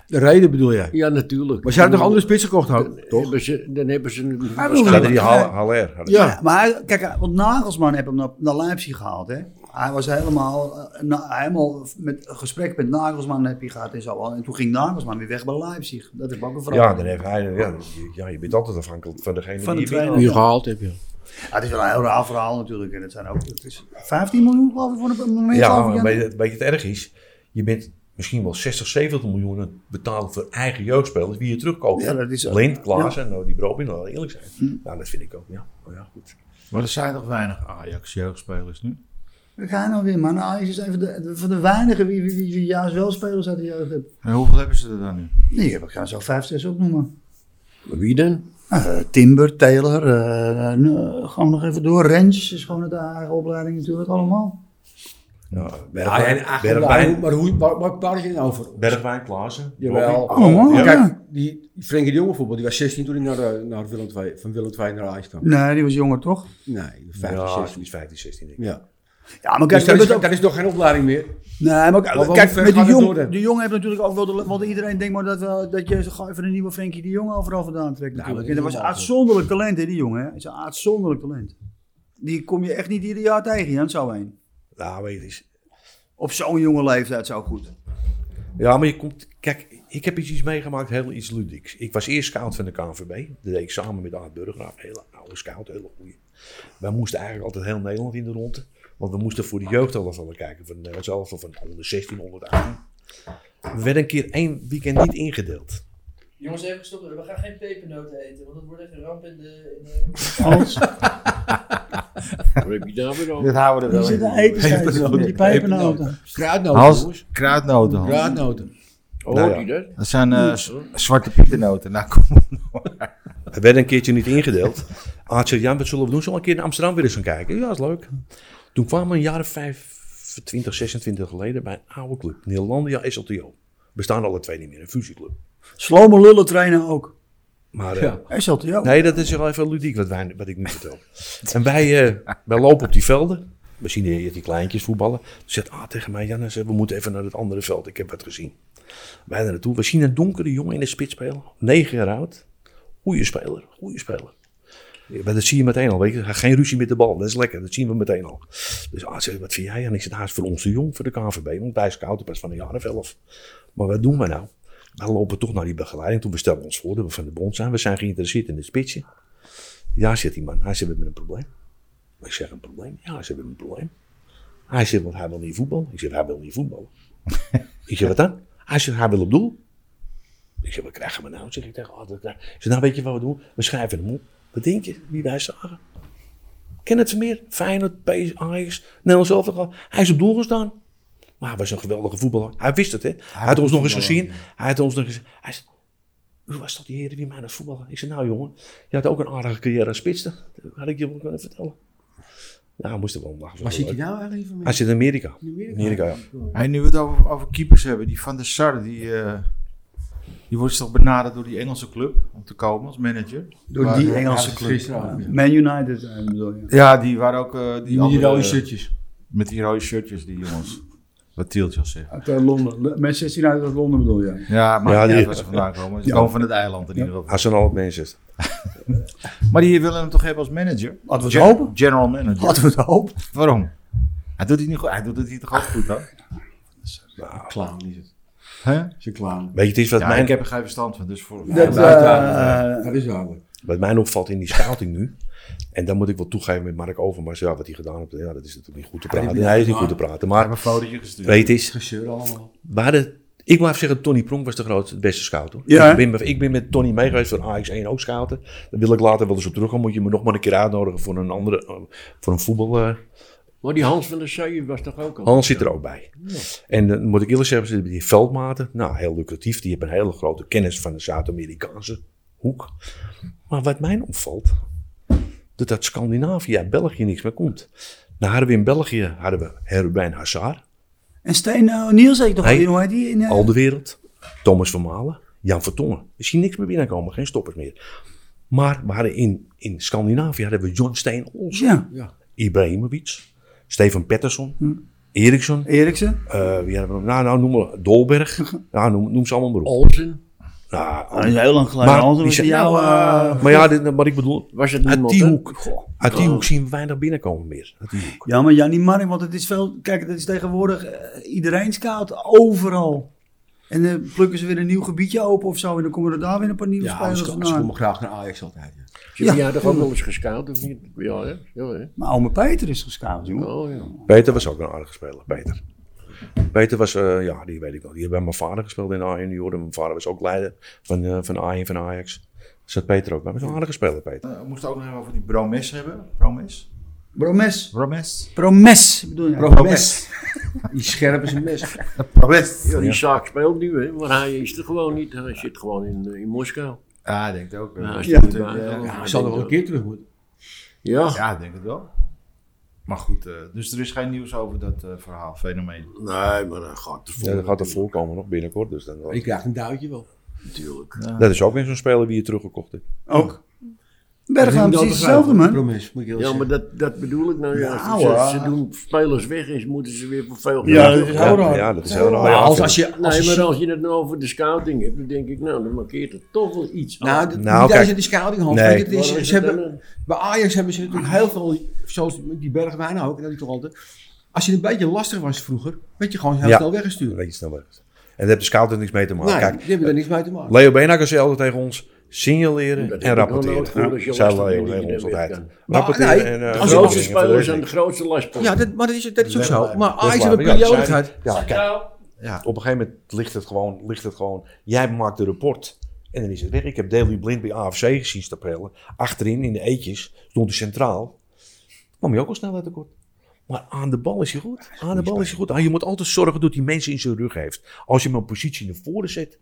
E: De reden bedoel jij?
G: ja natuurlijk.
E: Maar ze hadden nog andere spitsen gekocht, hoor, toch?
G: Hebben ze, dan hebben ze een...
C: Hij
A: Ze
C: wilde
A: hadden
C: weg.
A: die Hal- Haller. hadden
C: Ja, maar hij- kijk, want Nagelsman heeft hem naar, naar Leipzig gehaald. Hè? Hij was helemaal, eh, na- helemaal met een gesprek met Nagelsman heb hij gehad en zo. En toen ging Nagelsman weer weg bij Leipzig. Dat is ook een
A: ze.
C: vraag.
A: Ja, dan heeft hij, ja, je- ja, je bent altijd afhankelijk van degene
C: Van de
A: die je
C: trainer.
A: binnenhaalt.
E: Die je gehaald hebt, ja.
C: Ja, het is wel een heel raar verhaal natuurlijk. En het zijn ook, het is 15 miljoen geloof ik voor een moment.
A: Ja,
C: geloof ik,
A: maar
C: ja.
A: weet je, weet je het erg is? Je bent misschien wel 60, 70 miljoen aan het betalen voor eigen jeugdspelers die je terugkoopt.
C: Ja, dat is ook-
A: Blind, Klaassen, nou, die Brobin, laten we eerlijk zijn. Nou, dat vind ik ook, ja. Oh, ja goed.
F: Maar er zijn toch weinig Ajax-jeugdspelers nu?
C: We gaan nou weer, man. Ajax is een van de, van de weinigen wie, wie, wie, wie juist wel spelers uit de jeugd hebben.
F: En hoeveel hebben ze er dan nu?
C: Nee, ik ga zo 5, 6 opnoemen.
G: Wie dan?
C: Eh, Timber, Taylor, eh, eh, gewoon nog even door. Rens is gewoon uit de eigen opleiding natuurlijk allemaal.
A: Ja,
E: Ja,
A: Nou, Bergwijn,
E: en- ah,
A: Bergwijn,
E: maar- Maar hoe waar- waar praat je nou over?
A: Bergwijn, Klaassen,
E: Jawel. Oh,
A: Brobby.
C: Allemaal,
A: Ja.
C: ja.
E: Kijk, die Frenkie de Jonge bijvoorbeeld, die was 16 toen hij naar, eh, naar Willem II, van Willem II naar Ajax kwam.
C: Nee, die was jonger toch?
E: Nee, 15,
A: Ja,
E: 16.
A: die is 15, 16 denk ik.
E: Ja.
C: Ja, maar
E: Dus
C: kijk,
E: dat is,
C: dat ook...
E: dat is nog geen opleiding meer.
C: Nee, maar
E: Maar hoe
C: kijk,
E: ver
C: met die
E: gaat het door
C: jong,
E: dan?
C: de jongen heeft natuurlijk ook wel, de, want iedereen denkt maar dat, wel, dat je zo gauw even een nieuwe Frenkie de Jong overal vandaan trekt
E: Nou,
C: natuurlijk.
E: dat is
C: en dat was
E: normaal,
C: uitzonderlijk talent hè, die jongen. Hè. Dat is een uitzonderlijk talent. Die kom je echt niet ieder jaar tegen, Jan, zo heen.
A: Nou, weet je, het is-
C: Op zo'n jonge leeftijd zo goed.
A: Ja, maar je komt... Kijk, ik heb iets iets meegemaakt, heel iets ludieks. Ik was eerst scout van de KNVB. Dat deed ik samen met Aad Burgraaf. Een hele oude scout, hele goeie. Wij moesten eigenlijk altijd heel Nederland in de ronde. Want we moesten voor de jeugdelftallen kijken. Van eh, Nederlands elftal, van onder 16, onder 18. We werden een keer één weekend niet ingedeeld.
B: Jongens, even stoppen. We gaan geen pepernoten eten, want dat wordt echt een ramp in de... In de...
G: Waar heb je daar weer
F: Dat
G: over?
F: houden we er wel in.
E: Pepernoten.
C: Die pepernoten.
E: Kruidnoten,
F: Hans,
E: jongens.
F: kruidnoten. Hans.
E: Kruidnoten.
G: Oh,
A: Nou
G: hoort
A: ja.
G: hij dat?
F: Dat zijn eh, z- zwarte pietennoten. Nou, kom op.
A: We werden een keertje niet ingedeeld. Aad zei, ja, wat zullen we doen? Zullen we een keer in Amsterdam weer eens gaan kijken? Ja, is leuk. Toen kwamen we een jaar of 25, 26 geleden bij een oude club. Nederlandia SLTO. Bestaan alle twee niet meer, een fusieclub.
C: Slome lullen trainen ook.
A: Maar eh,
E: Ja.
C: Hij zat er ook.
A: Nee, dat is wel even ludiek wat, wij, wat ik nu vertel. en wij, eh, wij lopen op die velden. We zien die, die kleintjes voetballen. Ze zegt ah, tegen mij, Jannes, eh, we moeten even naar het andere veld. Ik heb wat gezien. Wij daar naartoe. We zien een donkere jongen in de spits spelen. Negen jaar oud. Goeie speler, goeie speler. Maar dat zie je meteen al, weet je. Geen ruzie met de bal, dat is lekker, dat zien we meteen al. Dus ah, zei, wat vind jij? En ik zei, hij is voor ons te jong, voor de KNVB. Want hij is kouderpas van een jaar of elf. Maar wat doen we nou? We lopen toch naar die begeleiding. Toen we stellen ons voor dat we van de bond zijn. We zijn geïnteresseerd in het spitsje. Ja, zegt die man. Hij zegt, we hebben een probleem. Ik zeg, een probleem? Ja, ze hebben een probleem. Hij zegt, want hij wil niet voetballen. Ik zeg, hij wil niet voetballen. ik zeg, wat dan? Hij zegt, hij wil op doel. Ik zeg, wat krijgen we nou? Zeg ik tegen, oh, dat krijg- Ik zeg, nou weet je wat we doen? We schrijven hem op. Wat denk je, wie wij zagen? Ken het meer? Feyenoord, PS, Ajax, Nederlands Elftal. Hij is op doel gestaan. Maar hij was een geweldige voetballer. Hij wist het, hè? Hij, had ons nog eens gezien. Hij had ons nog eens... Hij zei, hoe was dat die heren die mij naar voetballen? Ik zei, nou jongen, je had ook een aardige carrière als spitste. Dat had ik je wel kunnen vertellen. Nou, hij moest er wel om lachen.
E: Waar
A: Zo
E: zit
A: leuk.
E: hij nou eigenlijk van?
A: Hij zit in Amerika.
E: In Amerika?
A: Amerika, ja.
F: Hey, nu we het over, over keepers hebben, die Van der Sar, die, eh, die wordt toch benaderd door die Engelse club om te komen als manager.
C: Door
F: Waar-
C: die Engelse
E: ja,
C: club.
E: gisteravond, ja.
C: Man United eh, bedoel je.
F: Ja, die waren ook... eh,
E: Die
F: die
E: met die
F: andere-
E: rode shirtjes.
F: Met die rode shirtjes, die jongens. Wat Tieltje al zegt.
C: Uit eh, Londen. Le- Manchester United uit Londen bedoel je.
F: Ja, maar
A: Ja,
F: ja,
A: die-
F: die... waar ze vandaan komen. Ze komen van het eiland in ieder geval.
A: Hij zijn al op Manchester.
F: Maar die willen hem toch hebben als manager?
C: Laten we
F: Gen-
C: het hopen.
F: General manager.
C: Laten we het hopen.
F: Waarom? Hij doet het niet goed. Hij doet het hier toch ook goed, hoor?
E: Clown is het.
F: Hè?
E: Ze clown.
A: Weet je, het is wat,
F: Ja,
A: mij,
F: ik heb er geen verstand van, dus voor...
C: Dat, eh,
E: uiteraard. Dat is duidelijk.
A: wat mij opvalt in die scouting nu. En dan moet ik wel toegeven met Mark Overmars. Ja, wat hij gedaan heeft, ja, dat is natuurlijk niet goed te praten.
E: die-
A: hij is niet goed te praten.
F: Ik heb
A: Maar
F: een fotootje gestuurd.
A: weet je, het is,
E: Gezeur allemaal.
A: we hadden- ik blijf zeggen, Tony Pronk was de grootste, het beste scout. Hoor.
C: Ja, hè?
A: ik, ben, met- ik ben met Tony mee geweest voor AX1 ook scouten. Daar wil ik later wel eens op terugkomen. Moet je me nog maar een keer uitnodigen voor een andere, eh, voor een voetbal... eh,
G: Maar die Hans van der Seuwen was toch ook al?
A: Hans zit er ook bij. En dan moet ik eerlijk zeggen, ze hebben die veldmaten, nou heel lucratief, die hebben een hele grote kennis van de Zuid-Amerikaanse hoek. Maar wat mij opvalt, dat uit Scandinavië en België niks meer komt. Dan hadden we in België hadden we Herbijn Hazard,
C: En Steen eh, O'Neill zei ik toch
A: Hey.
C: in, hoe heet die? In, eh,
A: Al de Wereld, Thomas van Malen, Jan Vertongen. Ik zie niks meer binnenkomen, geen stoppers meer. Maar we hadden in, in Scandinavië hadden we John Steen Olsen,
C: ja,
A: Ibrahimovic, Steven Pettersson, Eriksson.
C: Eriksen.
A: Eh, wie hadden we nog? Nou, nou, noem maar Dolberg. Nou, noem, noem ze allemaal maar op.
G: Olsen?
A: Nou,
C: Dat is heel lang geleden.
A: Maar
C: Anders
A: die
C: was die
A: zei-
C: jou... eh,
A: maar ja, dit, maar ik bedoel,
G: Was het
A: uit
G: niemand?
A: die
G: hè?
A: hoek, uit die hoek zien we weinig binnenkomen meer. Uit die hoek.
C: Ja, maar Jannie Mark, want het is veel... Kijk, het is tegenwoordig eh, iedereen scout, overal. En dan plukken ze weer een nieuw gebiedje open of zo. En dan komen er daar weer een paar nieuwe
E: Ja,
C: spelers
E: ze ze komen
C: vandaan.
E: graag naar Ajax altijd. ja.
G: Ja,
C: Ja.
G: ja, toch ook wel eens gescout of niet? Ja, hè? Ja, hè?
C: Maar ome Peter is gescout, jongen.
G: Oh, ja.
A: Peter was ook een aardige speler, Peter. Peter was, eh, ja, die weet ik nog. Die hebben bij mijn vader gespeeld in A1 Junioren. Mijn vader was ook leider van, eh van A1 van Ajax. Zat Peter ook bij. Maar een aardige speler, Peter.
F: Eh, we moesten ook nog even over die Bromes hebben. Bromes?
C: Promes.
F: Bromes?
C: Promes, bedoel je?
E: Promes. Die scherp is een mes.
F: Bromes.
G: Ja, die zaak speelt nu, hè? maar hij is er gewoon niet. Hij zit gewoon in, eh, in Moskou.
F: Ja, ik denk het ook. hè.
G: Ja, hij
C: Ja.
G: zit erbij.
F: Ja,
E: Ja,
G: Ja,
E: ik zal er wel een keer terug moeten.
G: Ja,
F: Ja, ik denk het wel. Maar goed, eh, dus er is geen nieuws over dat eh, verhaal, fenomeen.
G: nee, maar hij gaat ervoor.
A: Ja, dat gaat er voorkomen nog binnenkort. Dus dan,
E: Ik krijg een duitje wel.
G: natuurlijk.
A: dat is ook weer zo'n speler die je teruggekocht hebt.
C: Ook. Berghuis
E: oh. Dat
C: precies
E: is wel
C: hetzelfde,
E: begrijpelijk.
C: man.
E: Promes, moet ik heel
G: Ja, maar
E: zeggen.
G: dat, dat bedoel ik nou
C: Nou,
G: ja. Ze,
C: eh.
G: ze doen spelers weg is, moeten ze weer voor veel
C: Ja,
G: geld.
C: dat is heel raar.
A: Ja, dat is heel raar.
E: Maar
A: Ja,
E: als,
A: vind
E: als
A: ik.
E: je... Als
G: Nee,
E: je-
G: maar als je het nou over de scouting hebt, dan denk ik, nou, dan markeert het toch wel iets.
E: Nou, d-
A: Nou,
E: daar
A: kijk.
E: zit de scouting Hans.
A: Nee.
E: Kijk, het is-
G: Waarom is
E: ze
G: het
E: hebben,
G: dan
E: bij Ajax hebben ze natuurlijk heel veel, zoals die Bergwijn ook, en dat is toch altijd. Als je een beetje lastig was vroeger, werd je gewoon heel
A: Ja.
E: snel
A: Dan
E: weggestuurd.
A: weet je snel weg. En daar heeft de scout er niks mee te maken.
E: nee,
A: Kijk,
E: die hebben er niks mee te maken.
A: Leo Beenhakker zei altijd tegen ons, signaleren
G: Dat heb
A: en
G: ik nog nooit
A: rapporteren.
G: gehoord,
A: Ja,
G: als je
A: zei
G: last
A: Leo
G: hebt,
A: tegen
G: dat je
A: ons
G: er weer
A: altijd.
G: kan.
E: Maar,
A: Rapporteren
E: nee,
A: en eh,
E: als
G: De
A: verbeteringen
E: je
G: grootste
E: als
A: en
G: spelers
A: verbeteringen.
G: zijn de grootste lastpost.
E: Ja, dat, maar dat is, dat is ook zo.
F: Wegblijven.
E: Maar Ajax
A: Dat
E: heeft een
A: is waar, ja,
E: periode
A: zij-
E: gehad.
A: Ja, kijk,
B: Nou,
A: op een gegeven moment ligt het gewoon, ligt het gewoon jij maakt een rapport en dan is het weg. Ik heb Daley Blind bij AFC gezien stapelen. Achterin in de eetjes stond hij centraal. Kwam je ook al snel uit de kort. Maar aan de bal is hij goed. Aan de bal is hij goed. Ah, je moet altijd zorgen dat hij mensen in zijn rug heeft. Als je hem een positie naar voren zet,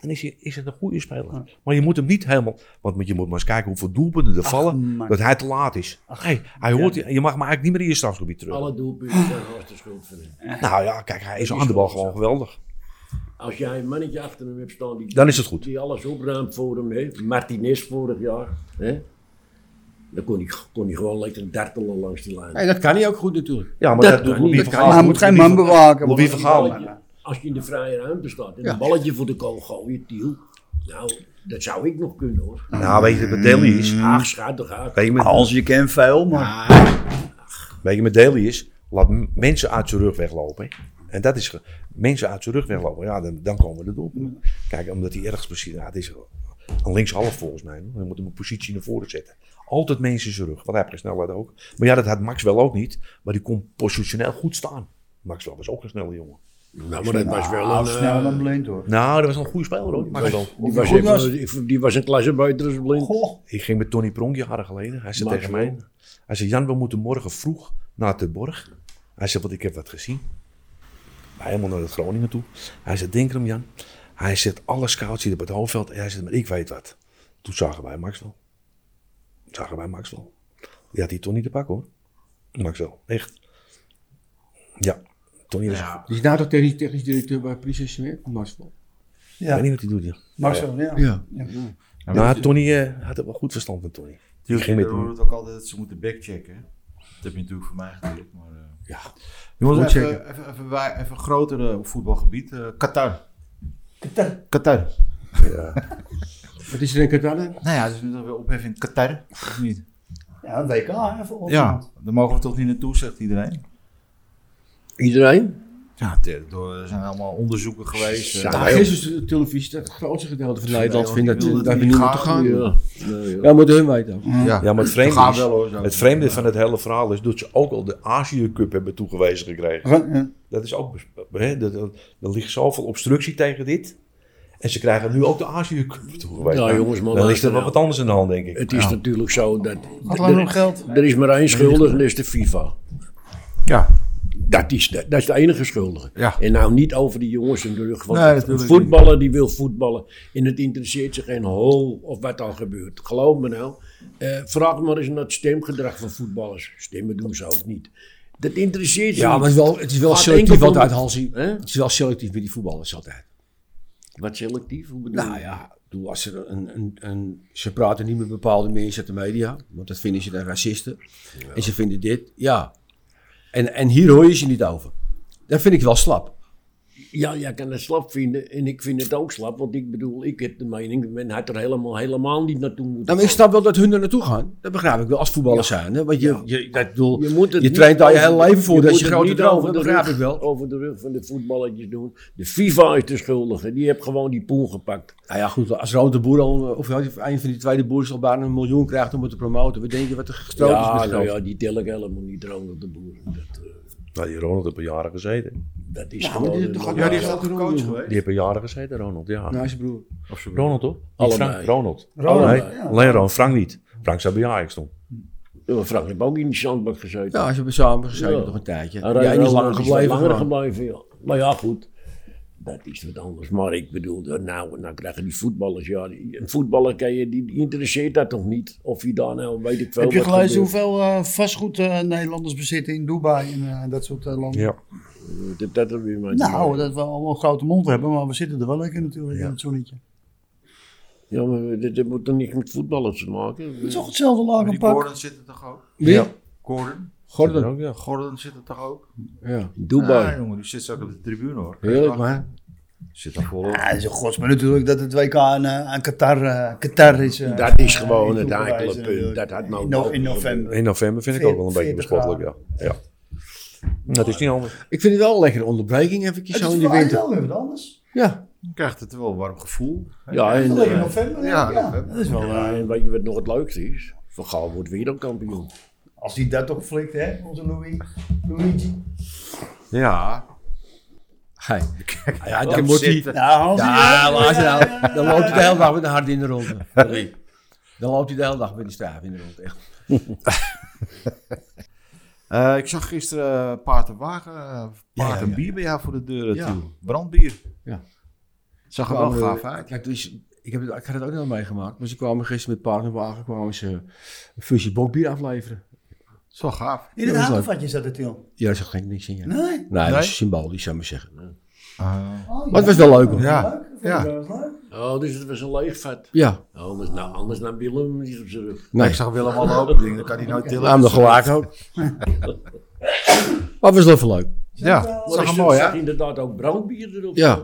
A: dan is, hij, is het een goede speler. Maar je moet hem niet helemaal... Want je moet maar eens kijken hoeveel doelpunten er vallen.
C: man.
A: dat hij te laat is. hey, hij hoort, je mag hem eigenlijk niet meer in je strafgebied terug.
G: Alle doelpunten zijn hartstikke schuld van hem.
A: Nou ja, kijk, hij is aan de bal gewoon geweldig.
G: Als jij een mannetje achter hem hebt staan die,
A: Dan is het goed.
G: die alles opruimt voor hem, hè? Martinez vorig jaar, hè? dan kon hij, kon hij gewoon lekker dartelen langs die lijn.
E: Nee, dat kan hij ook goed natuurlijk.
A: Ja, maar
G: Dat
A: dat,
G: kan
A: doet
G: niet.
A: Louis
G: Dat
A: van
G: kan
A: Gaal.
C: Maar hij moet geen man bewaken.
A: Louis
C: want-
A: van Gaal.
G: Als je in de vrije ruimte staat en
E: Ja.
G: een balletje voor de goal gooit, Tiel, Nou, dat zou ik nog kunnen hoor.
A: Nou, weet je wat met Delhi is?
G: Haag schaadt toch Haag.
A: Weet je, met,
C: Als je kent veel, maar...
A: weet je met Delhi is? Laat m- mensen uit zijn rug weglopen. hè. En dat is... ge- Mensen uit zijn rug weglopen. Ja, dan, dan komen we erop. Kijk, omdat hij ergens precies... Nou, het is een linkshalf volgens mij. hoor. Dan moet hem een positie naar voren zetten. Altijd mensen in zijn rug. Wat heb je snelheid ook. Maar ja, dat had Max wel ook niet. Maar die kon positioneel goed staan. Max wel was ook een snelle jongen.
G: Nou, maar dat was wel een...
C: Nou,
G: eh,
C: sneller dan blind hoor.
A: Nou, dat was een goede speler hoor. Max wel.
G: die,
C: Of
G: was
C: hij goed
G: even-
C: was?
G: die- die was een klasse buiten als blind.
C: Goh.
A: Ik ging met Tony Pronk jaren geleden. Hij zei
G: Max
A: tegen mij. Hij zei, Jan, we moeten morgen vroeg naar de borg. Hij zei, want ik heb wat gezien. Wij helemaal naar het Groningen toe. Hij zei, denk erom Jan. Hij zegt, alle scouts hier op het hoofdveld. En hij zegt, maar ik weet wat. Toen zagen wij Max wel. Zagen wij Max wel. Die had hij Tony te pakken hoor. Max wel, echt. Ja, Tony is...
E: Die is nou toch technisch, technisch directeur bij Prinses meer? Marcel.
A: Ik
C: Ja,
A: weet niet wat hij doet, ja.
C: Marcel, ja.
E: Ja.
F: Ja, maar
A: Nou,
F: dat-
A: Tony eh, had er wel goed verstand van Tony. Die ging
F: Jullie
A: met
F: horen
A: hem.
F: het ook altijd dat ze moeten backchecken. hè? Dat heb je natuurlijk voor mij geleerd. Maar, eh,
A: Ja.
F: Jongens,
E: Goed
F: even,
E: checken.
F: even, even, wij- even grotere op voetbalgebied. eh, Qatar. Qatar. Qatar.
E: Wat is er in Qatar? dan?
F: Nou ja, dus nu dat we opheffen in Qatar. Of niet?
C: Ja, WK hè, voor ons.
F: Ja, daar mogen we toch niet naartoe, zegt iedereen.
G: Iedereen?
F: Ja, te- door, er zijn allemaal onderzoeken geweest. eh,
G: Ja,
E: Nou,
G: wij ook.
E: gisteren de televisie, dat grootste gedeelte van Nederland
F: Nee,
E: vindt dat eh,
F: want ik wil
E: daar
F: dat
E: niet
F: niet
E: moeten
F: gaan,
E: gaan.
F: joh.
E: Ja,
G: Ja. Nee, ja.
E: dat moeten hun weten. ook.
A: Ja, maar het
F: we
A: vreemde
F: gaan
A: is-
F: wel hoor. zo.
A: Het vreemde van het hele verhaal is dat ze ook al de Azië Cup hebben toegewezen gekregen.
C: Ja.
A: Dat is ook, bes- hè, dat- dat- er ligt zoveel obstructie tegen dit. En ze krijgen nu ook de Azië Cup toegewezen.
G: Ja, jongens, maar
A: Dan
G: luister
A: is er wel
G: nou.
A: wat anders aan de hand, denk ik.
G: Het is natuurlijk zo dat...
C: Had lang nog geld.
G: Er is maar één schuldige en dat is de FIFA.
F: Ja.
G: Dat is, de, dat is de enige schuldige.
F: Ja.
G: En nou niet over die jongens in de rug. Want
F: Nee,
G: een
F: natuurlijk
G: voetballer die wil voetballen. En het interesseert zich geen hol of wat al gebeurt. Geloof me nou. Eh, vraag maar eens naar het stemgedrag van voetballers. Stemmen doen ze ook niet. Dat interesseert ze
E: Ja, maar
G: niet.
E: het is wel, het is wel
G: Gaat
E: selectief
G: enkel om-
E: altijd, Hansie.
G: Hè?
E: Het is wel selectief met die voetballers altijd.
G: Wat selectief? Hoe bedoel je?
E: Nou ja, ik bedoel, als er een, een, een, ze praten niet met bepaalde mensen uit de media, want dat vinden ze dan racisten. En ze vinden dit, ja. En, en hier hoor je ze niet over. Dat vind ik wel slap.
G: Ja, jij kan het slap vinden. En ik vind het ook slap. Want ik bedoel, ik heb de mening. Men had er helemaal, helemaal niet naartoe moeten
E: Nou, maar ik snap wel dat hun er naartoe gaan. Dat begrijp ik wel, als voetballers zijn. Hè? Want je, je, dat, ik bedoel,
G: Je,
E: je,
G: moet het niet
E: traint daar je
G: over-
E: hele leven voor. dat is je
G: moet het
E: grote
G: niet
E: droom,
G: over
E: dat
G: de
E: begrijp
G: rug-
E: ik wel.
G: Over de rug van de voetballetjes doen. De FIFA is de schuldige. Die heeft gewoon die poen gepakt.
E: Nou ja, goed, als Ronald de Boer al, of een van die tweede boers al bijna een miljoen krijgt om het te promoten. We denken wat er gestrooid is met
G: ja,
E: geld.
G: nou ja, die tel ik helemaal niet Ronald de Boer. Dat, eh,
A: Nou, die Ronald heeft een jaren gezeten.
G: dat is
E: Ja, maar
G: gewoon...
E: dit-
G: een-
E: dat Nou, gaat-
F: Ja, die is
E: Ja.
F: ook een coach geweest.
A: Die heeft een jaren gezeten, Ronald. Ja.
E: Nou, zijn broer.
F: Of zo.
A: Ronald toch? Niet
G: Allebei.
A: Frank, Ronald.
C: Ronald,
A: Allebei.
C: ja.
A: Alleen Ronald, Frank niet. Frank zou bij Ajax doen.
G: Ja, maar Frank heeft ook in die zandbak gezeten.
E: Ja, ze hebben samen gezeten
G: Ja.
E: nog een tijdje. Jij
G: En Ronald
E: Nou, is langer
G: is
E: gebleven.
G: langer
E: gewoon.
G: gebleven, ja. Maar Nou ja, goed. Dat is wat anders. Maar ik bedoel, nou, nou krijgen die voetballers, ja. die- Een voetballer kan je, die, die interesseert dat toch niet? Of je daar nou, weet ik veel
C: Heb je
G: wat
C: gelezen
G: gebeurt.
C: hoeveel eh, vastgoed eh, Nederlanders bezitten in Dubai en eh, dat soort eh, landen?
A: Ja.
G: Wat heeft dat er weer mee te
C: Nou,
G: maken?
C: dat we allemaal een grote mond hebben, maar we zitten er wel lekker natuurlijk in het zonnetje.
G: Ja, maar dit, dit moet toch niks met voetballen te maken?
C: Het is toch hetzelfde laag
F: Die
C: een pak.
F: Gordon zit er toch ook?
E: Wie?
F: Gordon?
A: Dat
E: Gordon.
A: ook, ja.
F: Gordon zit er toch ook?
E: Ja.
G: Dubai.
F: Ah, jongen, die zit zo ook op de tribune hoor.
E: Heerlijk, man.
F: Zit er vol op.
C: Ja, het is een godsman natuurlijk dat het WK aan, eh, aan Qatar, eh, Qatar is. eh,
G: Dat is
C: eh,
G: gewoon het
C: toegewezen
G: enkele punt.
C: natuurlijk.
G: Dat had nou
C: in, no-
G: ook
C: in november.
A: In november vind ik ook wel een beetje
C: 40
A: bespottelijk, ja. ja. Dat is niet anders.
E: Ik vind het wel een lekkere onderbreking even
C: Het
E: zo
C: is
E: in de
C: voor mij
E: winter.
C: wel weer wat anders.
E: Ja.
F: Je krijgt het wel een warm gevoel.
G: Ja, en,
C: Alleen in
G: eh,
C: november.
F: ja,
C: Ja, ja.
F: november.
C: Dat is wel, eh,
G: ja, en weet je wat nog het leukste is? Van Gaal wordt wereldkampioen.
C: als hij dat toch flikt, hè, onze Louis, Luigi.
F: Ja.
E: Hey. Ja,
F: Kom
E: dan wordt hij...
F: zitten.
C: Ja, Hansie,
E: Ja, maar als je nou-
C: ja, ja,
E: Dan loopt hij de hele dag met de hart in de ronde. Sorry. Dan loopt hij de hele dag met die staaf in de ronde. Echt.
F: Eh, ik zag gisteren eh, paard en wagen, eh, paard
E: Ja, ja,
F: en
E: ja.
F: bier bij jou voor de deuren
E: Ja.
F: toe. Brandbier.
E: Ja.
F: Zag er wel
E: Kwamen-
F: gaaf uit.
E: Kijk, dus, ik, heb het, ik had het ook nog meegemaakt. Maar ze kwamen gisteren met partnerwagen kwamen ze een fusje bokbier afleveren.
F: Zo gaaf.
C: In het havenvatje zat het, joh.
E: Ja, daar zag geen niks in. Ja. Nee,
C: Nee.
E: dat
F: Nee?
E: is symbolisch, zou ik maar zeggen.
C: Oh, ja.
E: Maar het was wel leuk hoor.
F: Ja.
C: Leuk, vond ik
F: Ja.
C: wel eens leuk.
G: Oh, dus het was een leegvat.
E: Ja,
G: Anders, nou, anders nam Willem niet op zijn rug.
E: nee.
F: Ik zag Willem al lopen. Ik denk, dat kan hij nooit tillen.
E: Aan de gewaakt ook. maar het was wel even leuk.
F: Ja,
G: Maar
F: zag
G: er
F: er mooi
G: zag
F: uit.
G: inderdaad ook brandbier erop.
E: Ja.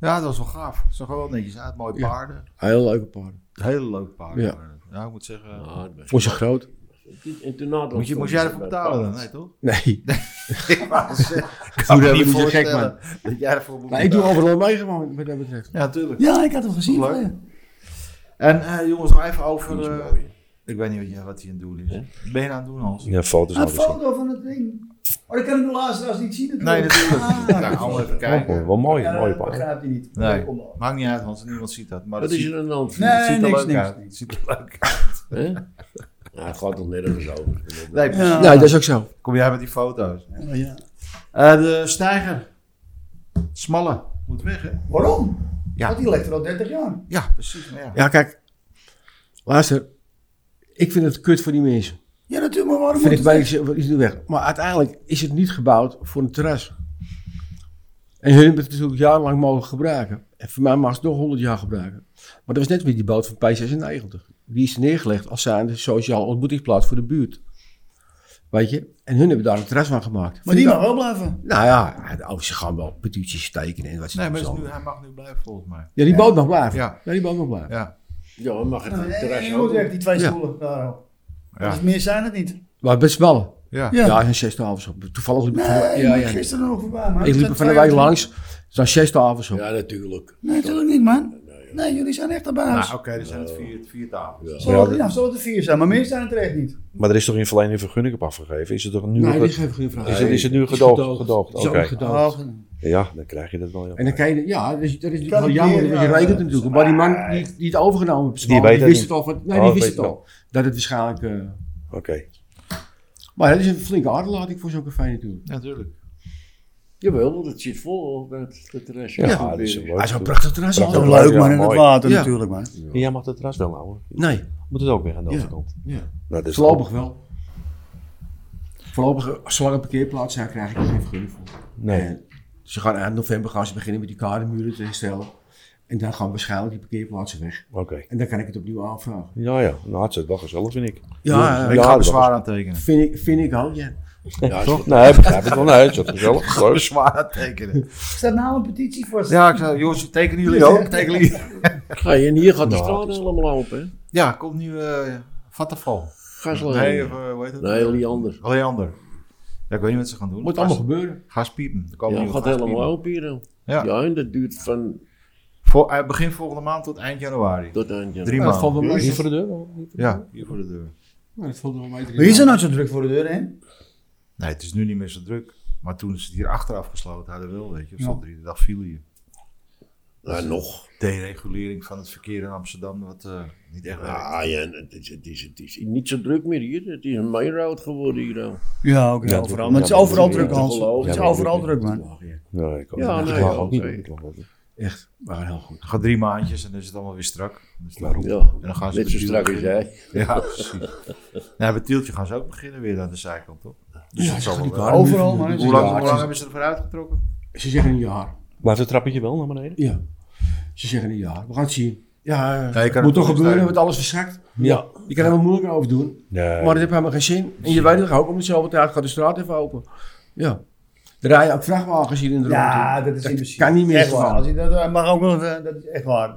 F: Ja, dat was wel gaaf. Het zag er wel netjes uit. Mooie
E: Ja.
F: paarden.
E: Heel leuke paarden.
F: Hele leuke paarden.
E: Ja.
F: waren het. Ja, ik moet zeggen.
E: Voor ze groot.
G: En toen na dat
F: Moet je, moest jij ervoor betalen dan? Nee, toch?
E: Nee.
F: Ik wou zeggen,
E: me
F: me
E: niet
F: niet
E: voorstellen
F: voorstellen Dat jij ervoor moet
E: Maar ik doe
F: betalen.
E: overal mee gewoon, wat dat betreft.
F: Ja, natuurlijk.
C: Ja, ik had hem gezien. oh
F: Leuk.
C: ja.
F: En eh, jongens, nog even over... eh, ik weet niet wat, je, wat hier aan het doen is. Ben je aan het doen, Hans?
A: Ja, foto's
C: Een
A: nou gezien.
C: foto van het ding. Oh, dat kan ik de luisteraars niet zien.
F: Nee, natuurlijk.
C: Ah.
F: nou, allemaal even kijken.
A: Oh, wel mooi,
C: Ja,
A: mooie
C: dat
A: paarden.
C: begrijpt hij niet.
F: Nee.
C: Kom dan.
F: Maakt niet uit, want niemand ziet dat. Maar
G: Wat
F: het
G: is
F: ziet,
G: er aan de hand?
F: het ziet
C: Nee,
F: er
C: niks,
F: leuk
C: niks.
F: uit. Het ziet er leuk uit.
G: Hè? Nou, het gaat toch nergens over.
F: Nee,
C: Ja.
E: Nee, dat is ook zo.
F: kom jij met die foto's.
C: Oh, ja.
F: Eh, de stijger. Smalle. Moet weg, hè?
C: Waarom?
F: Ja.
C: Want die ligt er al 30 jaar.
F: Ja, precies. Maar ja.
E: Ja, kijk. Luister. Ik vind het kut voor die mensen.
C: Ja, natuurlijk, maar waarom
E: Vind ik
C: moet het
E: bij is nu weg. Maar uiteindelijk is het niet gebouwd voor een terras. En hun hebben het natuurlijk jarenlang mogen gebruiken. En voor mij mag ze het nog 100 jaar gebruiken. Maar dat was net weer die boot van P96. Die is neergelegd als zijnde sociaal ontmoetingsplaats voor de buurt. Weet je? En hun hebben daar een terras van gemaakt.
C: Maar die mag wel blijven.
E: Nou ja, de ouders gaan wel petities tekenen en wat ze
F: Nee, maar het
E: zo.
F: is nu, hij mag nu blijven, volgens mij.
E: Ja, die boot mag blijven.
F: Ja.
E: Ja, die boot mag blijven.
F: Ja.
G: Ja, maar mag het
C: Nou, en
G: terras
C: je moet
G: ook?
C: weg, die twee
E: Ja.
C: stoelen. daar al.
F: Ja.
C: Dus meer zijn het niet.
E: Maar best ballen.
F: Ja.
C: Ja.
E: Ja, en zes avonds op. Toevallig liep ik van de-
C: Nee,
E: ja,
C: ik
E: ja.
C: ben gisteren nog voorbij, man.
E: Ik liep er
C: ben
E: van de
C: twee
E: wijk
C: jaar
E: langs. Er staan zes avonds op.
G: Ja, natuurlijk.
C: terug. Nee, natuurlijk niet, man. Nee, jullie zijn echt aan bij
F: Nou,
C: huis.
F: oké, er zijn het vier, vier tafels.
E: Nou,
G: Ja.
C: Zal het, ja, zal het er vier zijn, maar meer zijn het er echt niet.
A: Maar er is toch in verlening vergunning op afgegeven? Is het toch nu
E: Nee,
A: ge-
E: dit is even geen vraag.
A: Is het- is het nu
E: Nee,
A: gedoogd? Gedoogd,
E: Het is ook
A: oké.
E: gedoogd.
A: Ja, dan krijg je dat wel. ja.
E: En dan kan je, ja, dat is, dat is
C: Kan
E: natuurlijk wel
C: ik
E: jammer,
C: weer,
E: want je
C: eh,
E: rekent het natuurlijk. Maar die man die, die het overgenomen heeft,
A: Die
E: die,
A: weet dat
E: wist
A: niet.
E: het al. Van, nee,
A: Oh, weet
E: die wist
A: het
E: het al. Dat het waarschijnlijk... eh,
A: Oké.
E: maar dat is een flinke aderlating voor zo'n café natuurlijk.
F: Ja, natuurlijk.
G: Jawel, want het zit vol, dat, dat terras.
A: Ja,
G: goed
A: dat is een
G: weer.
A: leuk
E: Hij is een
A: doel.
E: prachtig terras.
A: Prachtig
E: altijd.
A: leuk, man, in het
C: water
E: Ja.
C: natuurlijk, man.
A: En jij mag dat terras wel houden.
E: Nee,
A: Moet het ook weer aan de
E: Ja.
A: overkant.
E: Ja.
A: Nou, dat is
E: voorlopig wel. Voorlopig, zolang een parkeerplaats zijn, krijg ik er geen vergunning voor.
A: Nee.
E: En ze gaan eind november gaan ze beginnen met die kadermuren te herstellen. En dan gaan waarschijnlijk die parkeerplaatsen weg.
A: Oké.
E: En dan kan ik het opnieuw aanvragen.
A: Ja, ja. Nou, het is wel gezellig, vind ik.
E: Ja,
F: ik
A: ja,
F: ga
A: dat
F: bezwaar
A: was-
F: aantekenen.
E: vind ik, vind ik ook, ja.
G: Ja,
A: Toch? Nee, begrijp ik wel. Nee, het is wel gezellig. Leuk.
F: Bezwaar aantekenen.
C: Staat nou een petitie voor?
F: Ja, ik zou, jongens, tekenen jullie ook? Tekenen jullie?
G: Ga je en hier gaat de
A: Nou,
G: straat
A: het is-
G: helemaal open, hè?
F: Ja, komt nu eh Vattenfall.
G: Gaslaan.
F: Nee,
G: Nee,
F: of, eh, hoe heet het?
G: nee Liander.
F: Leander. Ja, ik weet niet wat ze gaan doen.
E: Moet allemaal
F: Gas-
E: gebeuren.
F: Gaspiepen. Er komen
G: Ja,
F: nieuwe
G: gaat
F: gaspiepen.
G: helemaal open hier. hè.
F: Ja.
G: Ja, en dat duurt van
F: Voor, eh, begin volgende maand tot eind januari.
G: tot eind januari.
F: Drie
E: Ja, dat valt
F: maanden.
E: wel mee.
A: Hier voor de deur? wel?
F: Ja, hier voor de deur.
E: Ja, dat valt wel mee.
C: Wie zijn nou zo druk voor de deur, hè?
F: Nee, het is nu niet meer zo druk. Maar toen is het hier achteraf gesloten hadden wel, weet je. Op
C: Ja.
F: drie de dag viel hier.
G: Ja, nog.
F: Deregulering van het verkeer in Amsterdam, wat eh, niet echt werkt.
G: Ah ja, het is, het, is, het is niet zo druk meer hier. Het is een mailroad geworden hier. al.
C: Ja, oké,
A: Ja, natuurlijk.
C: overal. Maar het
A: Ja,
C: is overal
A: natuurlijk.
C: druk, Hans.
G: Ja,
C: Het is
A: natuurlijk.
C: overal druk, man.
A: Nee, ik ook
G: Ja,
A: niet. Ik
G: nee,
A: mag
G: ja,
A: ook niet.
G: oké.
A: Ik mag ook niet.
E: Echt, waren heel goed.
F: Gaat drie maandjes en dan is het allemaal weer strak. Dus daarom.
G: Ja,
F: En dan gaan ze
G: net zo
F: met
G: strak
F: Tiel
G: als
F: beginnen.
G: jij.
F: Ja, precies. nou, met Tieltje gaan ze ook beginnen weer aan de zijkant, toch? Dus dat zal
E: gaat
F: wel
E: niet
F: wel-
E: waar.
C: Overal,
F: Hoe
C: man.
F: lang,
E: Ja,
F: hoe
E: het
F: lang
E: is-
F: hebben ze ervoor uitgetrokken?
E: Ze zeggen een jaar.
A: Laat het trappetje wel naar beneden.
E: Ja. Ze zeggen een jaar. We gaan het zien. Ja,
F: kan het
E: het moet toch
F: ondersteunen.
E: gebeuren, want alles verschrikt. Ja. Je kan er wel moeilijk over doen.
A: Nee.
E: Maar dat heeft helemaal geen zin. En je weet het toch ook, om dezelfde tijd gaat de straat even open. Ja. Er rijden ook vrachtwagens hier in de
C: Ja,
E: rondte.
C: dat is impossible.
E: kan niet meer
C: Echt
E: van.
C: waar. Als je dat eh, mag ook wel, eh, dat is echt waar. Dat,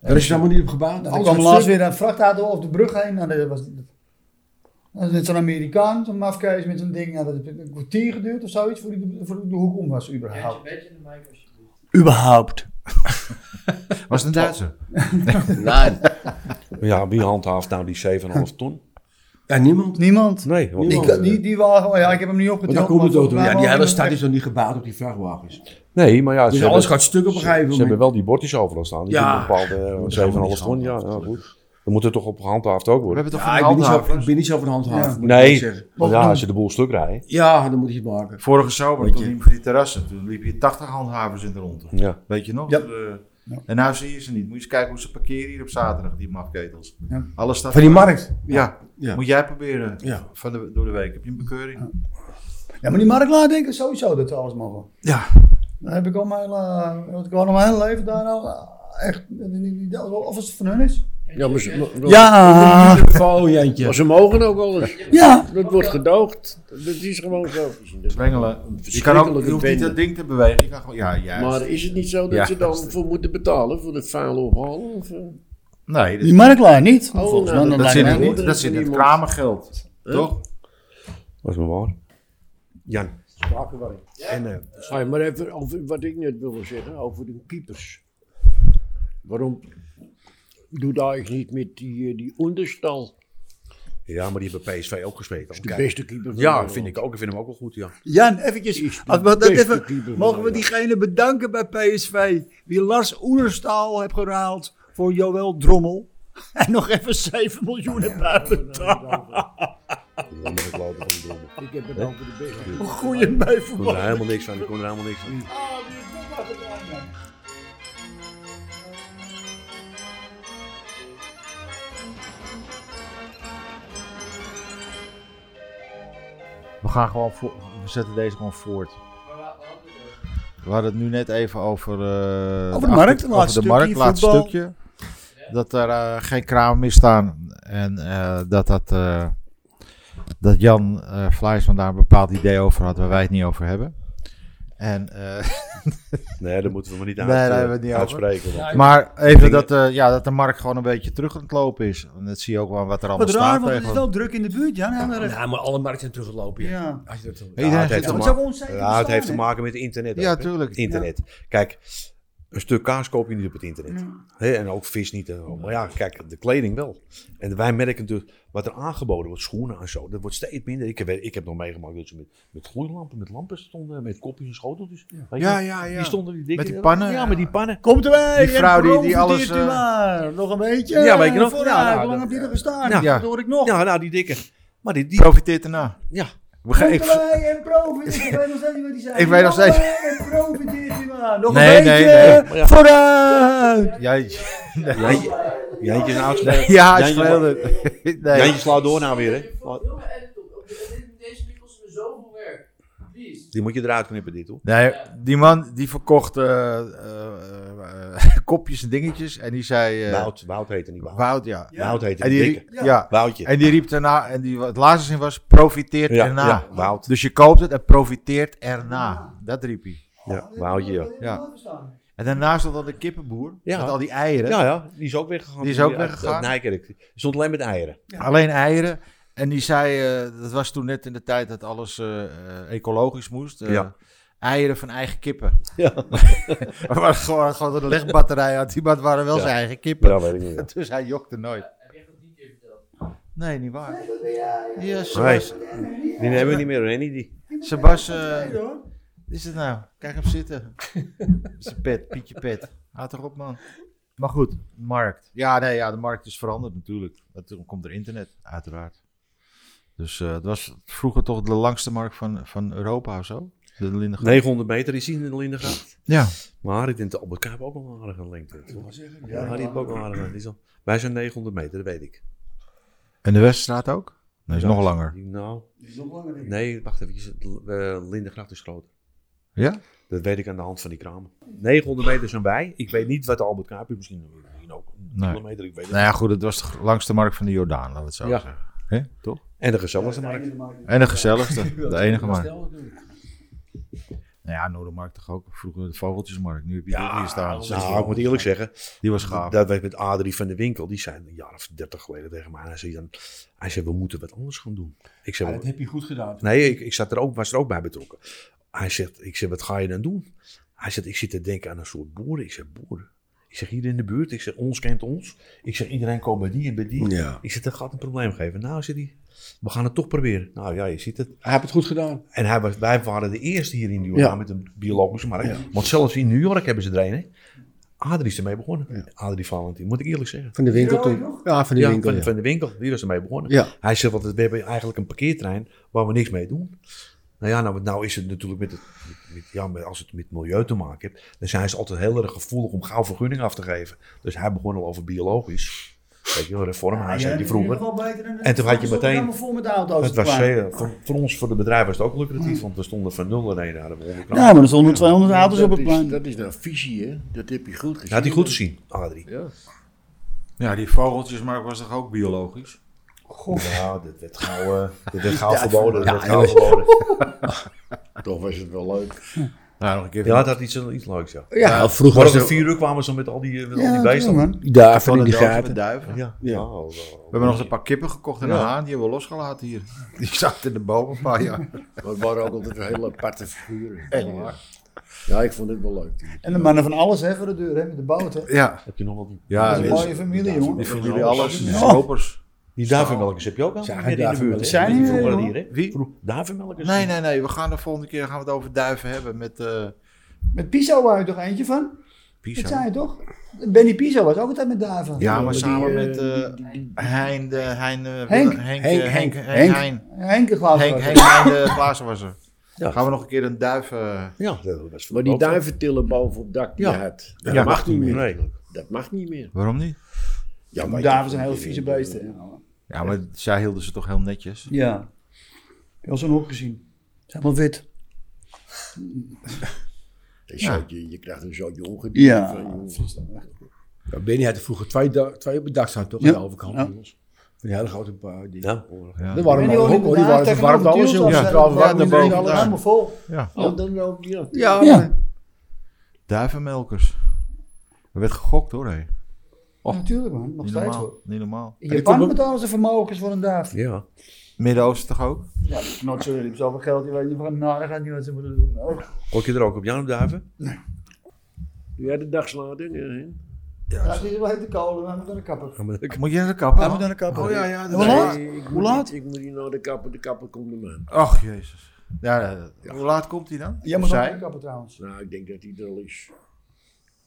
E: Daar is het helemaal niet op gebouwd.
C: Nou,
E: Alles
C: ik kwam
E: gaat
C: laatst
E: stuk.
C: weer een vrachtauto over de brug heen. Nou, dat was, dat was net zo'n Amerikaan, zo'n mafkees met zo'n ding. Nou, dat heeft een kwartier geduurd of zoiets voor die, voor die de hoek om was,
B: Beetje,
C: überhaupt.
B: beetje in de mic alsjeblieft.
C: Überhaupt.
F: Was het een Duitser?
A: Ja, wie handhaaft nou die 7,5 ton?
E: Ja, niemand.
C: Niemand.
A: Nee, want
C: Die,
A: niemand, eh,
C: die, die wagen, oh ja, ik heb hem niet opgeteld.
E: Want daar komt het
C: maar
E: ook door.
C: volgens
E: Ja,
C: mij
E: die
C: waren
E: hele
C: er
E: stad
C: nog-
E: is nog niet gebouwd op die vrachtwagens. Dus
A: nee, maar ja, ze,
E: alles
A: hebben,
E: gaat stuk op een gegeven
A: ze hebben
E: moment.
A: wel die bordjes overal staan. Die
E: Ja.
A: hebben een
E: Dat is
A: bepaalde
E: allemaal
A: eh, 7,5 ton.
E: niet
A: Ja, ja,
E: gehandhaafd,
A: goed. Dan moet het toch op gehandhaafd ook
F: We
A: worden.
F: hebben toch
E: Ja,
F: van
E: Ah, ik ben
F: die
E: niet zo,
F: handhavers?
E: ik ben niet zo van handhaven. moet ik eerlijk
A: Nee,
E: zeggen.
A: want ja, als je de boel stuk rijdt.
E: Ja, dan moet je het maken.
F: Vorige zomer,
E: Weet
F: toen
E: je.
F: liep voor die terrassen, toen liep je 80 handhavers in de rondte.
A: Ja.
F: Weet je nog?
C: Ja.
F: Eh,
C: Ja.
F: En nou zie je ze niet. Moet je eens kijken hoe ze parkeren hier op zaterdag, die mafketels.
C: Ja.
F: Alles staat
E: Van die markt.
F: Ja.
E: Ja.
F: Moet jij proberen
E: Ja.
F: van de, door de week. Heb je een bekeuring?
C: Ja, maar die Mark Laar denken sowieso dat ze alles mogen.
F: Ja.
C: Dan heb ik nou, al mijn hele, eh, wat ik al mijn hele leven daar al eh, echt, eh, niet- niet- of als het van hun is.
G: Ja, maar ze, maar-
C: Ja,
E: Oh,
G: maar
E: Jantje.
G: ze mogen ook alles.
C: ja.
G: Dat wordt gedoogd. Dat is gewoon zo.
F: Sprengelen. Je, kan ook,
G: verschrikkelijke
F: je hoeft niet
G: bende.
F: dat ding te bewegen. Je kan gewoon, ja, juist.
G: Maar is het niet zo dat
E: Ja,
G: ze
E: dat
G: dan voor moeten betalen voor het vuil ophalen? Of, eh?
F: nee, dat,
C: Die marktlijn niet.
G: Oh,
C: Volgens mij dan
G: nou,
F: dat
C: lijkt
F: zit
C: mij
F: in
G: wel.
F: niet. Dat zit in het
G: Iemand-
F: Kramergeld. Toch?
A: Was maar waar. Jan. En, eh,
G: Ah, maar even over wat ik net wilde zeggen, over de keepers. Waarom doe daar ik niet met die, eh, die onderstal?
A: ja, maar die hebben PSV ook gespeeld.
G: De
A: Kijk,
G: beste keeper van
E: Ja,
G: Nederland.
E: vind ik ook. Ik vind hem ook wel goed, ja.
C: Jan, eventjes. Als we dat
G: beste
C: even-
G: keeper van
C: mogen we
G: Nederland.
C: diegene bedanken bij PSV die Lars Oenerstaal heeft geruild voor Joël Drommel. En nog even 7 miljoen hebben uitbetaald.
A: Dan moet ik lopen van de drommel.
G: Ik heb het over de beste.
C: Een goeie mee
A: Ik kon er helemaal niks van. Ik kon er helemaal niks van.
F: We gaan gewoon voor, we zetten deze gewoon voort. We hadden het nu net even over, eh,
C: Over de markt,
F: achter-
C: laatste
F: over de
C: stukje,
F: markt, laatste
C: voetbal.
F: stukje. Dat er eh, geen kraam meer staan. En eh, dat, dat, eh, dat Jan eh Vlijsman daar een bepaald idee over had waar wij het niet over hebben. En, eh,
A: Nee, dat moeten we maar niet
F: Nee,
A: uit,
F: daar
A: eh,
F: hebben we het niet over.
A: uitspreken. want-
F: maar even dat, eh, ja, dat de markt gewoon een beetje terug aan het lopen is. En dat zie je ook wel wat er allemaal
C: Wat
F: staat.
C: raar, want het is
F: tegenwoordig.
C: wel druk in de buurt, Jan. Ja, maar-
E: Ja, maar alle markten zijn teruggelopen. Ja.
C: Ja.
E: Als je dat zo-
F: Iedereen
A: Ja, het heeft
F: zit er
A: te
C: Het
F: maar-
C: zou
A: maken-
C: onzeker
A: Ja, het heeft te
C: bestaan,
A: maken met internet.
F: Ja,
A: ook, hè.
F: tuurlijk.
A: Internet. Kijk, een stuk kaas koop je niet op het internet. Hè, en ook vis niet. en zo. Maar ja, kijk, de kleding wel. En wij merken natuurlijk wat er aangeboden wordt, schoenen en zo. Dat wordt steeds minder. Ik heb, ik heb nog meegemaakt dat ze met, met gloeilampen, met lampen stonden, met kopjes en schoteltjes. Weet je
F: Ja,
A: wel?
F: ja, ja.
A: Die stonden die dikke.
F: Met die pannen.
A: Ja, met die pannen.
C: hè. Komt erbij,
F: Die vrouw die- die
C: profiteert
F: alles,
C: u
F: eh,
C: maar. Nog een beetje.
A: Ja, weet je nog?
C: Vooruit,
A: Ja, nou,
C: Hoe lang
A: dat-
C: heb je er gestaan?
A: Ja.
C: Dat hoor ik nog.
A: Ja, nou, die dikke. Maar die, die
F: Profiteert erna.
A: ja.
F: We gaan, ik,
C: erbij en profiteert. Ik weet nog steeds niet wat die zei.
F: Ik weet nog steeds-
C: Erbij En profiteert u maar. Nog
F: Nee,
C: een
F: nee,
C: beetje.
F: nee.
C: Vooruit.
F: jij,
A: Jantje, Jantje is nou gespeeld.
F: ja, hij
A: Jantje-
F: schreeuwde. Nee.
A: Jantje slaat door nou weer, hè.
B: Deze spiegel is me zoveel werk. Please.
A: Die moet je eruit knippen, dit, hoor.
F: Nee, die man die verkocht eh, eh, eh, kopjes en dingetjes. En die zei... eh,
A: Wout, Wout heette niet Wout.
F: Wout, ja.
A: Wout heette
F: En
A: die
F: die,
A: dikke.
F: riep- ja.
A: Woutje.
F: En die riep daarna, en die, het laatste zin was, profiteert
A: Ja,
F: erna.
A: ja, Wout.
F: Dus je koopt het en profiteert erna. Dat riep hij.
A: Ja, Woutje, ja.
F: Ja. En daarna stond dan de kippenboer,
A: Ja.
F: met al die eieren.
A: Ja, ja, die is ook weggegaan.
F: Die is ook
A: uit-
F: weggegaan.
A: uit Nijkerk. Die stond alleen met eieren.
F: Alleen eieren. En die zei, eh, dat was toen net in de tijd dat alles eh, eh, ecologisch moest. eh,
A: Ja.
F: Eieren van eigen kippen.
A: Ja.
F: Er was gewoon, gewoon een legbatterij uit die, maar het waren wel
A: Ja.
F: zijn eigen kippen.
A: weet ik niet.
F: Dus hij jokte nooit.
B: Eh, Heb jij dat niet keer verteld?
F: Nee, niet waar. Ja,
A: Nee,
F: Sebas.
A: die hebben we niet meer, Renny. Die.
F: Sebas, eh, is het nou? Kijk hem zitten. Zijn pet, Pietje Pet. Houd toch op, man. Maar goed, markt. Ja, nee, ja, de markt is veranderd natuurlijk. Toen komt er internet, uiteraard. Dus eh, het was vroeger toch de langste markt van, van Europa of zo? De Lindegracht.
A: 900 meter is zien in de Lindegracht.
F: Ja.
A: Maar ik denk de Albert Kuip ook nog een aardige lengte. Ja, die heeft ook nog een aardige lengte. Die is al- Wij zijn 900 meter, dat weet ik.
F: En de Weststraat ook? Nee, is
A: Ja.
F: nog langer.
A: Die- Nou, nee, wacht even. eh, Lindegracht is groter.
F: Ja?
A: Dat weet ik aan de hand van die kramen. 900 meter zijn wij. Ik weet niet wat de Albert Kuip is. Misschien misschien ook een
F: Nee.
A: kilometer, ik weet het
F: Nou ja, goed, het was de langste markt van de Jordaan, laten we het zo
A: Ja.
F: zeggen. Hè? Toch?
A: niet. En de gezelligste markt.
F: En de gezelligste, de enige markt.
E: Stel, dat doe ik.
F: Nou ja, Noordermarkt toch ook. Vroeger de Vogeltjesmarkt. Nu heb je dit hier staan.
A: Nou, ik moet eerlijk zeggen.
F: Die was gaaf.
A: Dat weet met Adrie van de Winkel. Die zei een jaar of dertig geleden tegen mij. Hij zei, dan, hij zei, we moeten wat anders gaan doen. Ik zei,
E: Ja,
A: "Wat?"
E: dat heb je goed gedaan.
A: nee, ik, ik zat er ook, was er ook bij betrokken. Hij zegt, ik zeg, wat ga je dan doen? Hij zegt, ik zit te denken aan een soort boeren. Ik zeg, boeren? Ik zeg, hier in de buurt. Ik zeg, ons kent ons. Ik zeg, iedereen komt bij die en bij die.
E: Ja.
A: Ik zeg, dat gaat een probleem geven. Nou, zei hij, we gaan het toch proberen. Nou ja, je ziet het.
G: Hij heeft het goed gedaan.
A: En hij was, wij waren de eerste hier in New York
G: Ja.
A: met een biologische markt. Want zelfs in New York hebben ze er een, hè? Adrie is ermee begonnen. Adrie Valentin, moet ik eerlijk zeggen.
E: Van de winkel toen. Ja, van de
A: ja,
E: winkel.
A: van,
E: ja.
A: van de winkel. Die was ermee begonnen.
E: Ja.
A: Hij zegt, want we hebben eigenlijk een parkeertrein waar we niks mee doen. Nou ja, nou, nou is het natuurlijk met het, met, met- ja, met- als het met milieu te maken heeft, dan zijn ze altijd heel erg gevoelig om gauw vergunning af te geven. Dus hij begon al over biologisch. Weet je, wel, reformhuis zei die vroeger. En toen had je meteen-
C: Helemaal vol met auto's.
A: Het was
C: te maken.
A: zeer, voor, voor ons, voor de bedrijven, was het ook lucratief, want we stonden van 0 naar 1 naar de
E: Nou,
A: onderkant.
C: Ja, maar er stonden 200 auto's op
G: dat,
C: het
G: is,
C: plein.
G: dat is nou visie, hè? Dat heb je goed gezien.
A: Ah, Dat had hij goed gezien, Adrie.
G: Ja.
F: Ja, die vogeltjesmarkt was toch ook biologisch?
A: Nou, dit werd gauw, eh, dit werd gauw
C: Ja,
A: verboden. Dit
C: ja,
A: werd gauw verboden.
G: Toch was het wel leuk.
F: Nou, nog een keer.
A: Ja, het had iets, iets leuks, ja.
E: Ja, vroeger
A: Maar
E: was
A: om
E: er
A: vier uur kwamen ze met al die, eh, met al
C: Ja,
A: die
C: natuurlijk,
A: bijstanden.
C: man.
E: daar
F: van
E: van in die
F: de duiven
E: gaten.
F: met duiven.
A: Ja.
E: Ja.
A: Oh, oh,
F: We
A: oh.
F: hebben nog eens een paar kippen gekocht en
E: Ja.
F: een haan. Die hebben we losgelaten hier. Die zaten in de boom een paar jaar.
G: Maar het waren ook altijd hele aparte figuren. Ja, ik vond het wel leuk.
C: En de mannen van alles hè, voor de deur, hè, met de boot. Hè.
F: Ja,
A: Heb je nog wat? Die,
F: ja
C: dat is
F: die,
C: een mooie familie, jongen.
F: die familie alles.
C: Ja.
F: Schopers.
A: die duivenmelkers heb je ook al?
E: Zagen
A: Hier in de buurt.
E: duivenmelkers?
A: hè?
C: Zijn die er,
A: vroeger
C: jongen?
A: hier, hè?
F: Wie?
A: Vroeg- Duivenmelkers?
F: Nee, nee, nee. We gaan de volgende keer gaan we het over duiven hebben met eh
C: Met Piso waren er toch eentje van? Dat
F: Pisa.
C: zei je toch? Benny Piso was ook altijd met Daven.
F: Ja, maar
G: Die,
F: samen
G: eh,
F: met eh Hein, de, Hein, eh,
C: Henk.
F: Henk, Henk,
E: Henk,
F: eh, Henk, Henk,
C: Henk.
F: Hein.
C: Henke Glaas.
F: Henk,
C: was
F: Henk,
C: het.
F: Hein, de Klaassen was er.
A: Ja.
F: Gaan we nog een keer een duif... eh,
A: Ja, dat was
G: Maar die
A: ook zo.
G: duiven tillen boven op dak die
A: Ja.
G: je had.
A: Ja,
G: Dat mag niet meer.
A: Nee.
G: Dat mag niet meer.
F: Waarom niet?
G: Ja,
C: Die
G: maar
C: Daven zijn heel vieze beesten.
F: Ja, maar zij hielden ze toch heel netjes.
C: Ja. Ik heb wel zo'n hok gezien. Helemaal wit.
G: Een
F: Ja.
G: zootje- je krijgt een zootje ongedierte.
C: Ja.
G: van, joh.
E: Ja, Benny had er vroeger twee, da- twee op het dak staan, toch?
C: Ja.
E: Aan de overkant.
C: Ja.
E: jongens. Van die hele grote paar. Die,
A: Ja.
G: Oh,
F: Ja.
E: De warme
C: Benny
E: ook,
C: woonde
E: hoor. Die
C: daarnaast
E: waren verwarmd
C: tegenover
E: alles,
C: Tielt,
E: jongens.
C: daar.
E: Ja,
F: Ja,
E: trouwens,
F: ja,
E: warm
F: daarboven
E: iedereen alles.
F: daar.
C: Helemaal vol.
F: Ja.
G: Ja, dan loop je dat.
E: Ja,
C: Ja,
F: Duivenmelkers. Er werd gegokt hoor, hé.
C: natuurlijk man. Nog
F: Niet
C: steeds hoor.
F: normaal. Niet normaal.
C: In
E: En die
C: Japan
E: komt ook-
C: betalen ze vermogens voor een duif.
A: Ja.
F: Midden-Oosten toch ook?
C: Ja, not zo. Nou, Die hebben zoveel geld. Die weet niet van, nou, dat gaat niet wat ze moeten doen. Oh.
A: Kok je er ook op Jan duiven?
G: Doe jij de dagslating? hè?
C: Ja, die is wel te kolen. We moeten naar de kapper.
A: Ja, maar dat-
F: Moet jij de kapper?
C: naar de kapper.
F: Oh ja, ja.
C: Hoe laat?
G: Nee, ik moet
C: Hoe laat?
G: niet- Ik moet hier naar de kapper, de kapper komt er aan.
F: Ach, jezus. Ja, ja, ja. Hoe laat komt hij dan?
C: Jij moet ook naar de
F: Zij?
C: kapper trouwens.
G: Nou, ik denk dat hij er al is.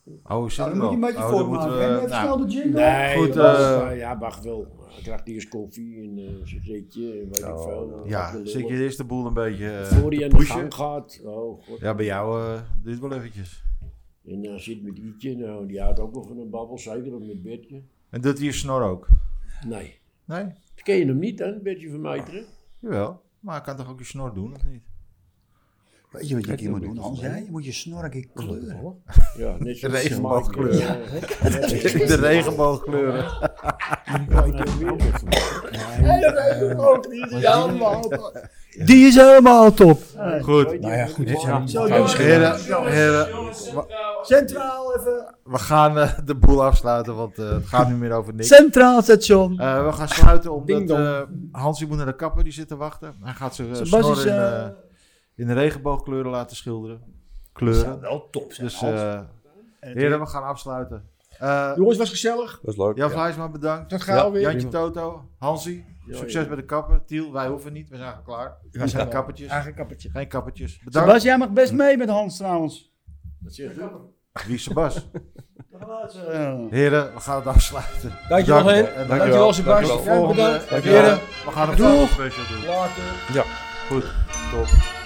F: Oh, is
C: Nou,
F: dat
C: dan moet je een beetje
F: oh, dan
C: voormaken.
F: moeten
C: hè.
F: we-
C: Even
F: nou,
C: snel de jingle.
G: Nee,
F: Goed,
G: was,
F: eh,
G: eh, ja, wacht wel. Hij krijgt eerst koffie en eh, een sigaretje en weet ik
A: Oh,
G: veel.
F: Ja, zit je eerst de boel een beetje... eh,
G: Voor hij
F: te
G: aan de
F: pushen?
G: gang gaat. Oh, god.
F: Ja, bij jou eh dit wel eventjes.
G: En dan zit met Ietje, nou, die houdt ook wel van een babbel, zeker ook met Bertje.
F: En doet hij je snor ook?
G: Nee.
F: Nee?
G: Ken je hem niet dan, Bertje van Meiteren?
F: Jawel. Maar hij kan toch ook je snor doen, of niet?
C: Weet je wat je een keer moet doen, Hans? hè? Je moet je snor een keer kleuren.
G: Ja, net zoals
F: Regenboogkleur.
G: Ja, hè? Net zoals-
F: De regenboogkleuren.
G: Ja, ik heb weer met hem.
C: Die is helemaal top.
F: Goed.
E: Nou ja, goed.
C: Zo,
E: Trouwens,
C: jongens.
E: Gerard,
F: Heren, heren,
B: Jongens, centraal.
C: Centraal even.
F: we gaan eh, de boel afsluiten, want eh, het gaat nu meer over niks.
C: Centraal station.
F: Eh, we gaan sluiten omdat
E: Ding dong.
F: eh Hansie moet naar de kapper, die zit te wachten. Hij gaat zijn eh,
C: Zijn bas
F: snor
C: is,
F: in,
C: eh,
F: eh, in de regenboogkleuren laten schilderen. Kleuren.
C: Wel top zeg.
F: Dus eh heren, we gaan afsluiten. Eh
E: Jongens, was gezellig.
A: Dat is leuk.
F: Jan
A: ja.
F: Vlijsma, bedankt.
E: Tot gauw weer.
F: Jantje Toto, Hansie,
G: Ja,
F: succes
G: ja.
F: bij de kapper. Tiel, wij hoeven niet, we zijn al klaar. Wij zijn kappertjes.
E: Eigen kappertje.
F: Geen kappertjes. Bedankt.
C: Sebas, jij mag best mee met Hans trouwens.
G: Wat zegt u?
F: Wie is Sebas?
C: Eh,
F: Heren, we gaan het afsluiten.
E: Dankjewel,
F: Bedankt.
E: Henk.
F: En
E: Dankjewel, Sebastian.
F: Volgende.
E: Bedankt.
F: en, eh,
E: Heren.
F: We gaan het
E: Doeg.
F: special doen.
E: Later.
F: Goed. Top.